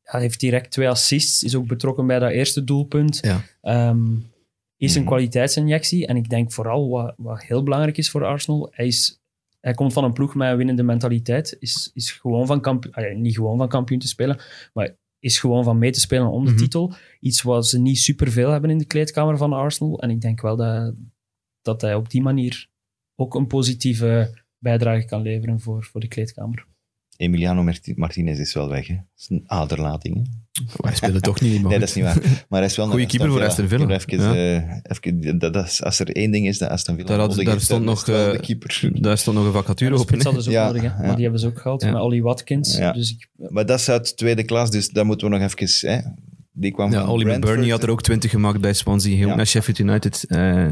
hij heeft direct twee assists. Is ook betrokken bij dat eerste doelpunt.
Ja. Mm.
Ehm, is een
Mhm.
kwaliteitsinjectie. En ik denk vooral wat, wat heel belangrijk is voor Arsenal. Hij, is, hij komt van een ploeg met een winnende mentaliteit. Is, is gewoon van kampioen... niet gewoon van kampioen te spelen. Maar is gewoon van mee te spelen om de
Mhm.
titel. Iets wat ze niet superveel hebben in de kleedkamer van Arsenal. En ik denk wel dat, dat hij op die manier ook een positieve bijdrage kan leveren voor, voor de kleedkamer.
Emiliano Marti- Martinez is wel weg, hè. Dat is een aderlating, hè.
Wij spelen toch niet,
Nee, dat is niet waar. Maar hij is wel
Goeie
naar
keeper voor Aston Villa.
Ik heb Even, eh, even, dat, dat is, als er één ding is dat Aston Villa
Daar had-
nodig
daar
heeft,
stond
dan is
nog,
het wel
eh,
de keeper.
Daar stond nog een
Ja,
vacature
de
op.
spits hadden ze ook
Ja,
nodig, hè? maar
ja.
die hebben ze ook gehaald.
Ja.
Met Ollie Watkins.
Ja.
Dus ik,
Maar dat is uit tweede klas, dus daar moeten we nog even... Hè. Die kwam
Ja,
van
Oliver
Brentford.
Burney had er ook 20 gemaakt bij Swansea. Heel
Ja.
naar Sheffield United. Eh,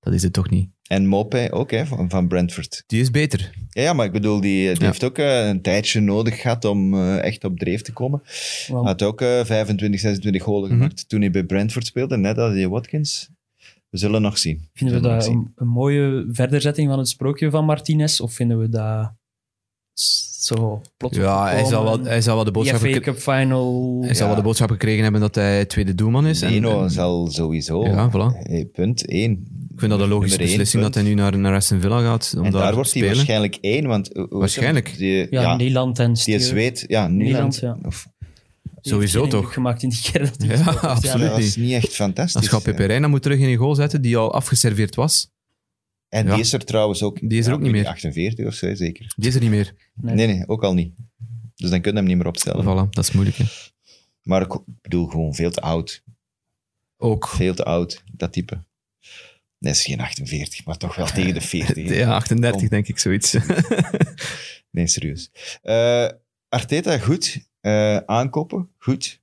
dat is het toch niet.
En Mopé ook, hè, van, van Brentford.
Die is beter.
Ja, ja, maar ik bedoel, die, die
Ja.
heeft ook eh, een tijdje nodig gehad om eh, echt op dreef te komen.
want-
Had ook eh, 25, 26 golen
Mhm.
gemaakt toen hij bij Brentford speelde, net als die Watkins. We zullen nog zien.
Vinden we
Zullen
dat
we
een, een mooie verderzetting van het sprookje van Martinez? Of vinden we dat s- zo plots
Ja, hij zal, wel, hij zal wel de boodschap,
FA
gekre-
Cup Final...
hij zal wel de boodschap gekregen hebben dat hij tweede doelman is. En-
Nino
en-
zal sowieso.
Ja, voilà.
Eh, Punt 1.
Ik vind dat een logische
Nummer één,
beslissing dat
punt.
hij nu naar, naar Aston Villa gaat. Om
En daar,
te
wordt hij
spelen.
waarschijnlijk één, want... eh, hoe heet hem?
Waarschijnlijk.
Die,
Ja,
ja,
Nieland en
die
Steven.
zweet, ja,
Nieland,
Nederland.
ja.
Of-
Sowieso toch?
gemaakt in die keer dat hij
Ja,
gespeeld heeft.
absoluut.
dat was
niet.
niet echt
Dan
fantastisch.
gaat Pepe Reina moet terug in een goal zetten die al afgeserveerd was.
En
Ja.
die is er trouwens ook...
Die is er
ja,
ook niet meer.
48 of zo, zeker.
Die is er niet meer.
Nee.
Nee, nee, ook al niet. Dus dan kun je hem niet meer opstellen.
Voilà, dat is moeilijk. Hè.
Maar ik bedoel, gewoon veel te oud.
Ook.
Veel te oud, dat type. Nee, het is geen 48, maar toch wel tegen de 40. hè.
Ja, 38 denk ik, zoiets.
Nee, serieus. Eh, Arteta, goed. Eh, aankopen, goed.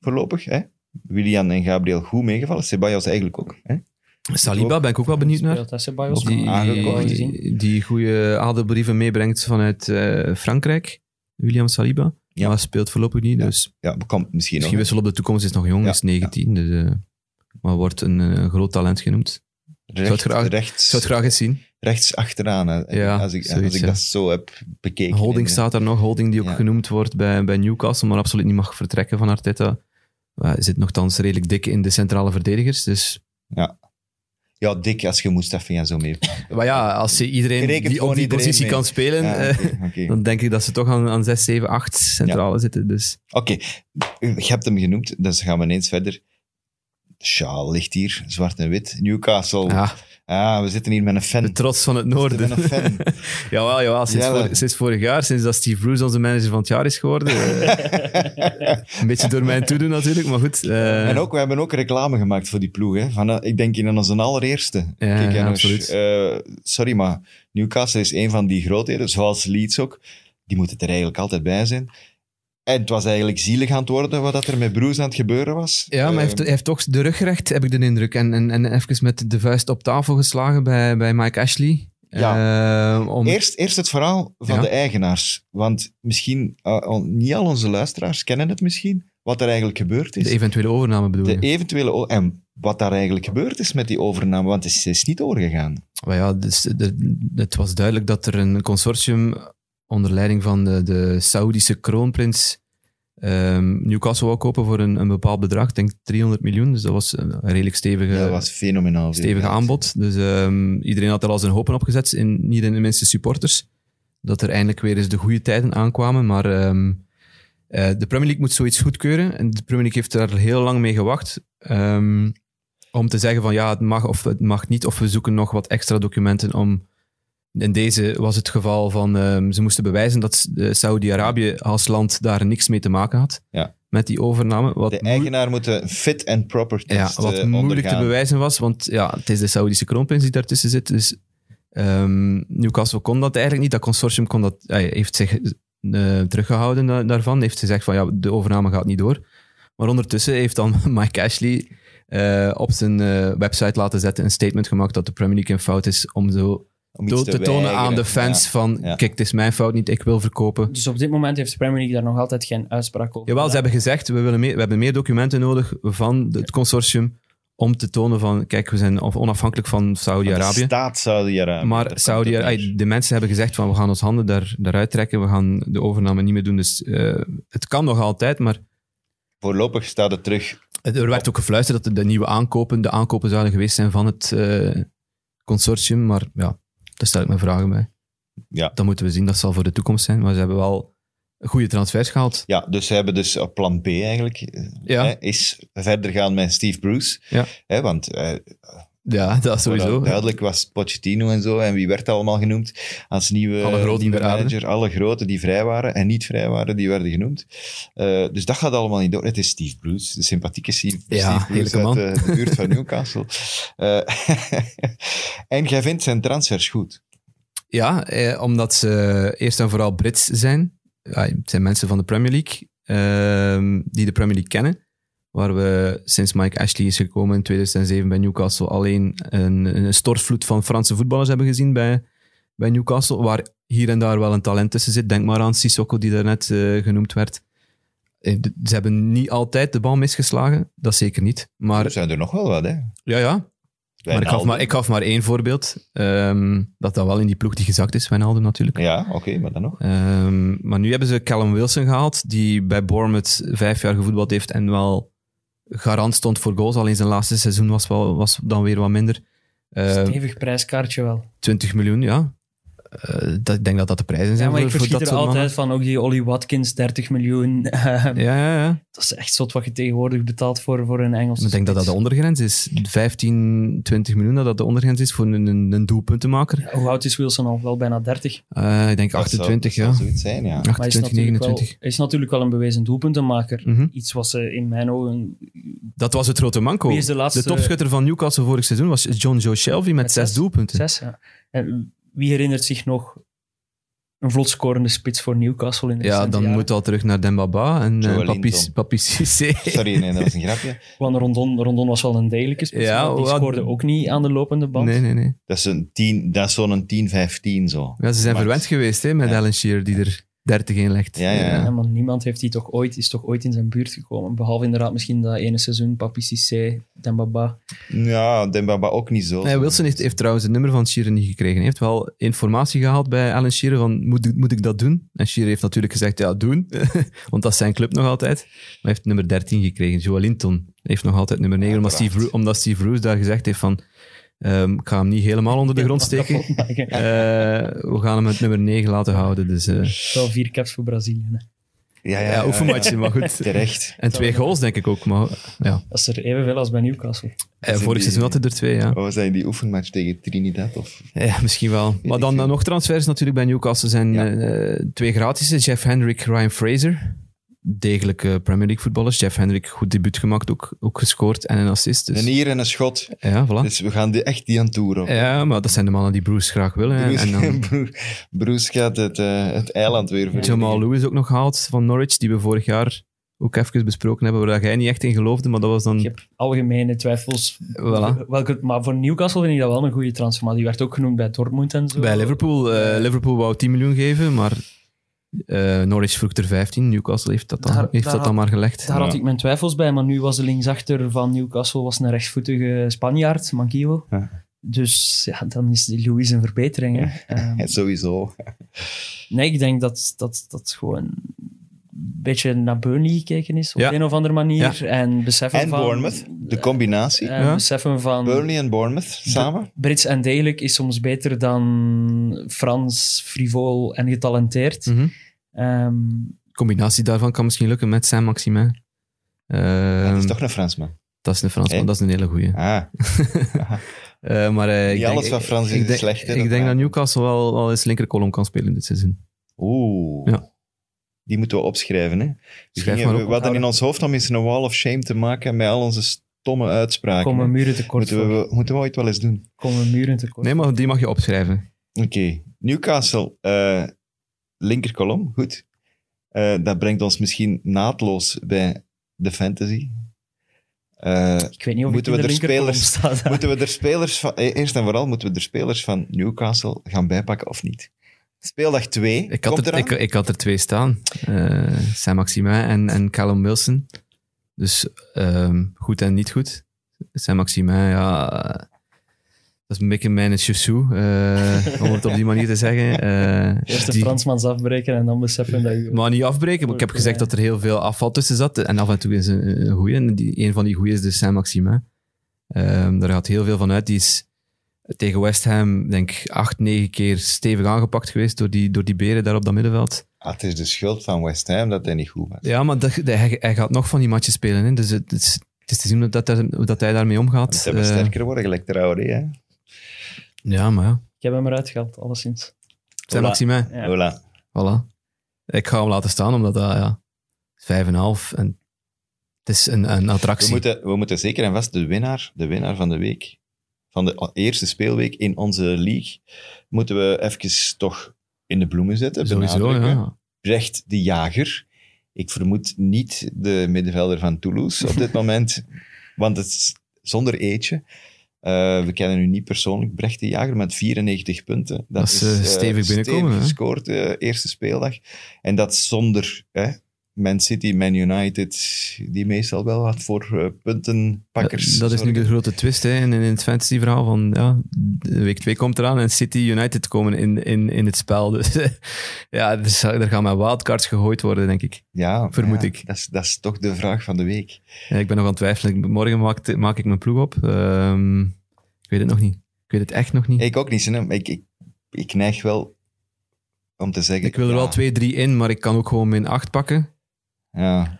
Voorlopig, hè. Willian en Gabriel, goed meegevallen. Ceballos eigenlijk ook. Hè?
Saliba ben ik ook wel benieuwd naar.
Speelt dat Ceballos?
Ook
Die,
aangekocht.
die, die goede adelbrieven meebrengt vanuit eh, Frankrijk. William Saliba.
Ja.
Maar speelt voorlopig niet,
Ja.
dus
Ja, komt misschien,
misschien
nog.
wissel op de toekomst. is nog jong,
Ja,
is 19. Dus, eh, maar wordt een eh, groot talent genoemd.
Recht,
zou het graag-
rechts,
Ik zou het graag eens zien.
rechts achteraan. hè.
Ja,
als ik,
zoiets,
als ik
ja.
dat zo heb bekeken.
Holding
En,
staat daar nog. Holding die ook
Ja.
genoemd wordt bij, bij Newcastle, maar absoluut niet mag vertrekken van Arteta. Hij zit nogthans redelijk dik in de centrale verdedigers. Dus,
eh, Ja, dik als je Mustafi en zo mee.
maar ja, als je
Je
iedereen
rekent
die
gewoon
op die
iedereen
positie
mee.
kan spelen,
Ja,
eh,
oké, oké.
dan denk ik dat ze toch aan, aan 6, 7, 8 centrale zitten. Dus
Oké, je hebt hem genoemd, dus gaan we ineens verder. Sjaal ligt hier, zwart en wit. Newcastle.
ja,
Ah, we zitten hier met een
de
fan.
trots van het
Ik
noorden.
ben een fan.
jawel, jawel. Sinds,
Ja,
vor-
wel.
sinds vorig jaar, sinds dat Steve Bruce onze manager van het jaar is geworden. eh, een beetje door mijn toedoen natuurlijk, maar goed. eh,
En ook, we hebben ook reclame gemaakt voor die ploeg. Hè? Van, eh, ik denk in onze allereerste.
Ja,
Kijk,
ja,
Janos,
absoluut.
eh, sorry, maar Newcastle is een van die grootheden, zoals Leeds ook. Die moeten er eigenlijk altijd bij zijn. En het was eigenlijk zielig aan het worden wat dat er met Bruce aan het gebeuren was.
Ja, maar hij
Eh,
heeft, hij heeft toch de rug recht, heb ik de indruk. En, en, en even met de vuist op tafel geslagen bij, bij Mike Ashley. Eh, om,
Eerst, eerst het verhaal van
Ja.
de eigenaars. Want misschien, eh, al- niet al onze luisteraars kennen het misschien, wat er eigenlijk gebeurd
de
is.
eventuele overname bedoel
De
je?
eventuele... o- En wat daar eigenlijk gebeurd is met die overname, want het is, is niet doorgegaan.
Maar ja, dus, de- het was duidelijk dat er een consortium onder leiding van de, de Saoedische kroonprins ehm, Newcastle wou kopen voor een, een bepaald bedrag. Ik denk 300 miljoen, dus dat was een redelijk stevige...
Ja, dat was fenomenaal. veel
stevige
geld.
aanbod. Dus ehm, iedereen had er al zijn hopen op gezet, in, niet in de minste supporters. Dat er eindelijk weer eens de goede tijden aankwamen. Maar ehm, eh, de Premier League moet zoiets goedkeuren. En de Premier League heeft daar heel lang mee gewacht. ehm, om te zeggen van ja, het mag of het mag niet. Of we zoeken nog wat extra documenten om... In deze was het geval van ehm, ze moesten bewijzen dat eh, Saudi-Arabië als land daar niks mee te maken had.
Ja.
Met die overname. Wat
De
moe-
eigenaar moet een fit and proper
ja,
test
wat
eh,
moeilijk te
ondergaan.
bewijzen was, want ja, het is de Saoedische kroonprins die daartussen zit. Dus ehm, Newcastle kon dat eigenlijk niet. Dat consortium kon dat, hij heeft zich eh, teruggehouden da- daarvan. Heeft gezegd van ja, de overname gaat niet door. Maar ondertussen heeft dan Mike Ashley eh, op zijn eh, website laten zetten een statement gemaakt dat de Premier League in fout is om zo
Om iets
te, te tonen
weigeren.
aan de fans
Ja.
van
ja.
kijk, het is mijn fout niet, ik wil verkopen.
Dus op dit moment heeft de Premier League daar nog altijd geen uitspraak over.
Jawel, ze hebben gezegd, we, willen meer, we hebben meer documenten nodig van de- het consortium om te tonen van, kijk, we zijn on- onafhankelijk van
Want
Saudi-Arabië.
De staat Saudi-Arabië.
Maar
daar komt
Saudi
het neer.
ai, de mensen hebben gezegd van, we gaan ons handen daar, daaruit trekken, we gaan de overname niet meer doen. Dus eh, het kan nog altijd, maar
Voorlopig staat het terug.
het- er werd ook gefluisterd dat de, de nieuwe aankopen, de aankopen zouden geweest zijn van het eh, consortium. Maar ja, daar stel ik mijn vragen bij.
Ja.
Dat moeten we zien, dat zal voor de toekomst zijn. Maar ze hebben wel goede transfers gehaald.
Ja, dus ze hebben dus eh, plan B eigenlijk. eh,
Ja,
hè, is verder gaan met Steve Bruce.
Ja.
Hè, want eh,
ja dat
vooral
sowieso.
duidelijk was Pochettino en zo. En wie werd allemaal genoemd als nieuwe,
Alle groten
nieuwe
die er waren.
manager? Alle grote die vrij waren en niet vrij waren, die werden genoemd. Eh, dus dat gaat allemaal niet door. Het is Steve Bruce, de sympathieke Steve,
Ja,
Steve Bruce
heerlijke
uit
man.
eh, de, buurt van Newcastle. Eh, en jij vindt zijn transfers goed.
Ja, eh, omdat ze eerst en vooral Brits zijn. Ja, het zijn mensen van de Premier League ehm, die de Premier League kennen. Waar we sinds Mike Ashley is gekomen in 2007 bij Newcastle alleen een, een stortvloed van Franse voetballers hebben gezien bij, bij Newcastle. Waar hier en daar wel een talent tussen zit. Denk maar aan Sissoko die daarnet net genoemd werd. Eh, d- Ze hebben niet altijd de bal misgeslagen, dat zeker niet.
er
Maar
zijn er nog wel wat, hè?
ja, ja, maar ik, gaf
Dus Wijnaldum.
maar ik gaf maar één voorbeeld. ehm, dat dat wel in die ploeg die gezakt is, Wijnaldum natuurlijk.
Ja, oké, maar dan nog.
Ehm, maar nu hebben ze Callum Wilson gehaald, die bij Bournemouth vijf jaar gevoetbald heeft en wel garant stond voor goals. Alleen zijn laatste seizoen was, wel, was dan weer wat minder. Ehm,
Stevig prijskaartje wel.
20 miljoen, ja. Eh, eh, dat, ik denk dat dat de prijzen zijn
Ja, maar ik
voor, voor
verschiet er
dat soort
altijd
mannen.
van, ook die Olly Watkins, 30 miljoen. eh,
Ja, ja, ja.
Dat is echt zot wat je tegenwoordig betaalt voor, voor een Engelse
Ik denk dat dat de
spits.
ondergrens is. 15, 20 miljoen, dat dat de ondergrens is voor een, een, een doelpuntenmaker.
Hoe oud is Wilson al? Wel bijna 30.
Eh, ik denk
Dat
28,
zou,
ja.
Dat zou zoiets zijn, ja.
Maar hij is,
28,
natuurlijk wel,
29.
hij is natuurlijk wel een bewezen doelpuntenmaker.
Mhm.
Iets wat ze in mijn ogen...
Dat was het grote manco.
Wie is de laatste-
topschutter van Newcastle vorig seizoen was John Joe Shelby met,
Met
zes
zes.
doelpunten.
Zes, ja. En wie herinnert zich nog een vlot scorende spits voor Newcastle in de
Ja,
Dus
recente
dan
jaren?
moet al terug naar Dembaba en
Joe
eh,
Linton.
Papi- Papi Cissé.
Sorry, nee, dat was een grapje.
Want Rondon, Rondon was wel een degelijke spits,
Ja,
maar die
wat-
scoorde ook niet aan de lopende band.
Nee, nee, nee.
Dat is, een 10, dat is zo'n 10, 15 zo.
Ja, ze zijn
Maar-
verwend geweest hè, met
Ja.
Alan Shearer, die er 30 in legt.
Ja, ja, ja.
Ja, maar niemand heeft die toch ooit, is toch ooit in zijn buurt gekomen. Behalve inderdaad misschien dat ene seizoen, Papi Cissé, Dembaba.
Ja, Dembaba ook niet zo.
Nee, Wilson heeft, heeft trouwens het nummer van Shearer niet gekregen. Hij heeft wel informatie gehaald bij Alan Shearer van, moet, ik- moet ik dat doen? En Shearer heeft natuurlijk gezegd, ja, doen. Want dat is zijn club nog altijd. Maar hij heeft nummer 13 gekregen. Joe Linton heeft nog altijd nummer 9, omdat Steve,
Uiteraard.
Ru- omdat Steve Bruce daar gezegd heeft van, ehm, ik ga hem niet helemaal onder de grond steken. Eh, we gaan hem het nummer 9 laten houden. Dus, eh,
Wel vier caps voor Brazilië. hè.
Ja, ja,
ja,
ja,
oefenmatchen, maar goed.
Terecht.
En twee goals, denk ik ook. Maar, ja.
Dat is er evenveel als bij Newcastle.
Eh,
is
vorig
die-
seizoen had hij er twee, ja.
Oh, zijn die oefenmatch tegen Trinidad? Of...
Ja, misschien wel. Maar
ik
dan eh,
veel.
nog transfers natuurlijk bij Newcastle zijn
Ja.
eh, twee gratis. Jeff Hendrick, Ryan Fraser. Degelijke Premier League voetballers. Jeff Hendrick, goed debuut gemaakt, ook, ook gescoord en een assist. Dus, Oh.
Een hier en een schot.
ja, voilà.
Dus we gaan die, echt die aan toeren. op.
ja, maar dat zijn de mannen die Bruce graag willen. hè.
Bruce,
En dan
Bruce- Bruce gaat het, eh, het eiland weer verdienen.
Jamal Lewis ook nog gehaald van Norwich, die we vorig jaar ook even besproken hebben, waar jij niet echt in geloofde, maar dat
Ik
was dan...
heb algemene twijfels.
Voilà.
Welke, maar voor Newcastle vind ik dat wel een goede transfer. Maar die werd ook genoemd bij Dortmund en zo.
Bij Liverpool, eh, Liverpool wou 10 miljoen geven, maar eh, Norwich vroeg er 15. Newcastle heeft dat dan,
Daar-
heeft
daar
dat dan maar gelegd.
Daar had
Ja.
ik mijn twijfels bij, maar nu was de linksachter van Newcastle was een rechtsvoetige Spanjaard, Manquillo.
Ja.
Dus ja, dan is die Louis een verbetering. Hè. Ehm,
Ja, Sowieso.
nee, ik denk dat dat, dat gewoon een beetje naar Burnley gekeken is op
Ja.
een of andere manier. En beseffen
En
van...
Bournemouth, de combinatie.
en
Ja.
beseffen van...
Burnley en Bournemouth samen.
Brits en degelijk is soms beter dan Frans, frivol en getalenteerd.
Mhm.
Ehm,
combinatie daarvan kan misschien lukken met Saint-Maximin. Eh,
dat is toch een Fransman.
dat is een Fransman,
Hey.
dat is een hele goeie.
Ah,
Eh, maar, eh, ik
Niet
denk,
alles wat Frans is,
ik
is
denk-
slecht, hè,
Ik
dat
denk dat
maakt-
Newcastle wel, wel eens linkerkolom kan spelen dit seizoen.
oeh.
Ja.
Die moeten we opschrijven. Hè? We,
Schrijf
gingen-
maar
we
op.
hadden in ons hoofd om eens een wall of shame te maken met al onze stomme uitspraken.
komen muren tekort
moeten,
voor.
we, moeten we ooit wel eens doen.
Komen muren tekort
Nee, maar die mag je opschrijven.
Oké, Newcastle, eh linkerkolom, goed. Eh, dat brengt ons misschien naadloos bij de fantasy. Eh,
Ik weet niet of
Moeten
ik in
we
de
er
linkerkolom
spelers-
sta. daar.
moeten we er spelers van, eh, eerst en vooral moeten we er spelers van Newcastle gaan bijpakken of niet? Speeldag 2
Ik
komt
had, er,
eraan.
ik, ik had er twee staan. Eh, Saint-Maximin en, en Callum Wilson. Dus ehm, goed en niet goed. Saint-Maximin, ja... eh, Dat is een beetje mijn choussou, eh, om het op die manier te zeggen. Eh
Eerst de
die-
Fransmans afbreken en dan beseffen dat je...
Maar niet afbreken, maar ik heb gezegd dat er heel veel afval tussen zat. En af en toe is een, een goeie. En die, een van die goeie is de Saint-Maximin. Ehm, daar gaat heel veel van uit. Die is tegen West Ham, denk ik, acht, negen keer stevig aangepakt geweest door die, door die beren daar op dat middenveld.
Ah, het is de schuld van West Ham dat hij niet goed was.
Ja, maar dat- dat- hij, hij gaat nog van die matchen spelen. Hè. Dus het, het is, het is te zien hoe dat, daar- hoe dat hij daarmee omgaat.
Ze hebben
Eh,
sterker worden, gelijk Traoré. hè.
ja, maar ja.
Ik heb hem eruit gehaald, alleszins.
Saint-Maximin,
Ja.
Voilà.
voilà. Ik ga hem laten staan, omdat dat, ja, vijf en een half. En het is een, een
We,
attractie.
moeten, we moeten zeker en vast de winnaar, de winnaar van de week, van de eerste speelweek in onze league, moeten we even toch in de bloemen zetten.
Sowieso,
benadrukken.
ja.
Brecht de Jager. Ik vermoed niet de middenvelder van Toulouse op dit moment, want het is zonder eetje. Eh, we kennen u niet persoonlijk. Brecht de Jager met 94 punten. Dat,
Dat is, eh,
eh,
stevig binnenkomen, hè?
gescoord, eh, eerste speeldag. En dat zonder hè, Man City, Man United, die meestal wel wat voor eh, puntenpakkers.
Dat, dat is nu
zorgen.
de grote twist hè, in, in het fantasy-verhaal. Van, ja, de week 2 komt eraan en City United komen in, in, in het spel. Dus ja, er, zal- er gaan maar wildcards gegooid worden, denk ik.
Ja,
vermoed
ja,
ik.
Dat is, dat is toch de vraag van de week.
En ik ben nog aan het twijfelen. Morgen maak, maak ik mijn ploeg op. Ehm, ik weet het nog niet. Ik weet het echt nog niet.
Ik ook niet, Sinem. ik, ik, ik neig wel om te zeggen.
Ik wil er wel
ja,
twee, drie in, maar ik kan ook gewoon mijn acht pakken.
Ja,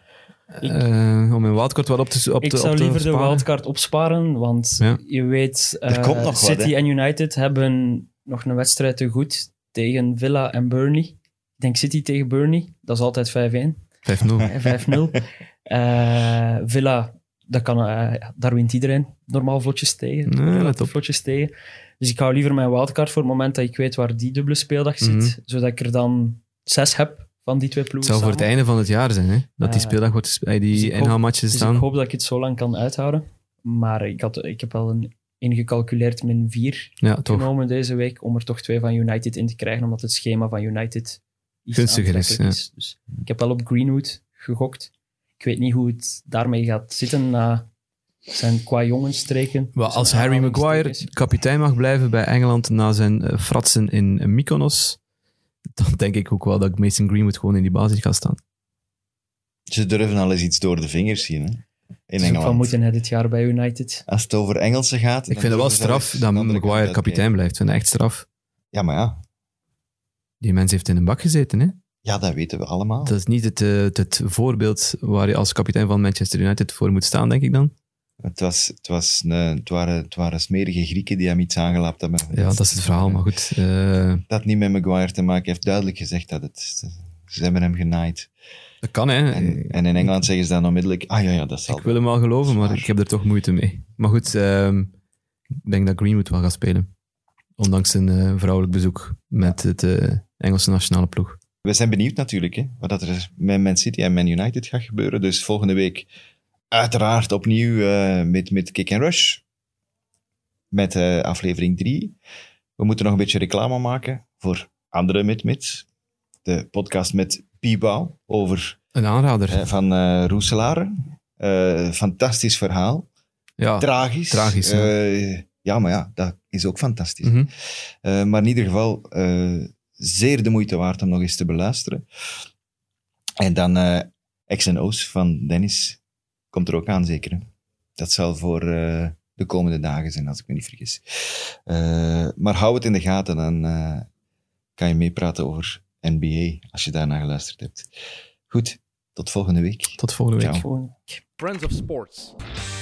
Ik-
eh, om mijn wildcard wat op te op
Ik
te- op
zou
te
liever de
sparen.
wildcard opsparen, want
Ja.
je weet, eh,
Er komt nog wat,
City
hè.
en United hebben nog een wedstrijd te goed tegen Villa en Burnley. Ik denk City tegen Burnley, dat is altijd 5-1,
5-0.
eh, 5-0. Eh, Villa, dat kan, eh, ja, daar wint iedereen normaal vlotjes tegen.
Nee,
Relatief
Mm, let op.
Vlotjes tegen. Dus ik hou liever mijn wildcard voor het moment dat ik weet waar die dubbele speeldag zit,
Mhm.
zodat ik er dan zes heb van die twee
Het
ploegen.
zou voor het
samen.
einde van het jaar zijn, hè? Dat die
Eh,
speeldag wordt gespe- eh,
dus
die
ik hoop-
inhaalmatchen
Dus
staan.
ik hoop dat ik het zo lang kan uithouden. Maar ik, had, ik heb wel een ingecalculeerd min 4
ja, toch.
genomen deze week om er toch twee van United in te krijgen, omdat het schema van United iets
Gunstiger is,
aantrekkelijk Dus ik heb wel op Greenwood gegokt. Ik weet niet hoe het daarmee gaat zitten na zijn qua jongenstreken.
Wel,
Zijn
als Harry Maguire
aanhalingstekens.
kapitein mag blijven bij Engeland na zijn eh, fratsen in Mykonos, dan denk ik ook wel dat ik Mason Greenwood gewoon in die basis ga staan.
ze durven al eens iets door de vingers zien, hè? In
Dus ook van
Engeland.
moeten hij dit jaar bij United.
Als het over Engelsen gaat...
Ik vind het wel straf dat Maguire kapitein blijft. Ik vind het echt straf.
Ja, maar ja.
Die mens heeft in een bak gezeten, hè?
Ja, dat weten we allemaal.
Dat is niet het, eh, het voorbeeld waar je als kapitein van Manchester United voor moet staan, denk ik dan.
Het, was, het, was een, het, waren, het waren smerige Grieken die hem iets aangelapt hebben.
Ja, dat is het verhaal, maar goed. eh,
Dat niet met Maguire te maken heeft. Duidelijk gezegd dat het... Ze hebben hem genaaid.
dat kan, hè?
En, en in Engeland zeggen ze dan onmiddellijk... Ah ja, ja dat zal
Ik wil hem wel geloven, maar ik heb er toch moeite mee. Maar goed, ehm, ik denk dat Greenwood wel gaat spelen. Ondanks zijn eh, vrouwelijk bezoek met het eh, Engelse nationale ploeg.
We zijn benieuwd natuurlijk hè, wat dat er met Man City en Man United gaat gebeuren. Dus volgende week uiteraard opnieuw eh, met, met Kick and Rush. Met eh, aflevering 3. We moeten nog een beetje reclame maken voor andere mid-mid. De podcast met Piebouw over
Een aanrader.
eh, van eh Roeselare. Eh, fantastisch verhaal.
ja.
Tragisch.
tragisch, ja.
Eh, ja, maar ja, dat is ook fantastisch.
Mhm.
Eh, maar in ieder geval eh, zeer de moeite waard om nog eens te beluisteren. En dan eh X en O's van Dennis komt er ook aan, zeker. hè? Dat zal voor eh, de komende dagen zijn, als ik me niet vergis. Eh, maar hou het in de gaten, dan eh, kan je meepraten over NBA als je daarna geluisterd hebt. Goed, tot volgende week.
Tot volgende week.
Ciao.
Gewoon
Friends of Sports.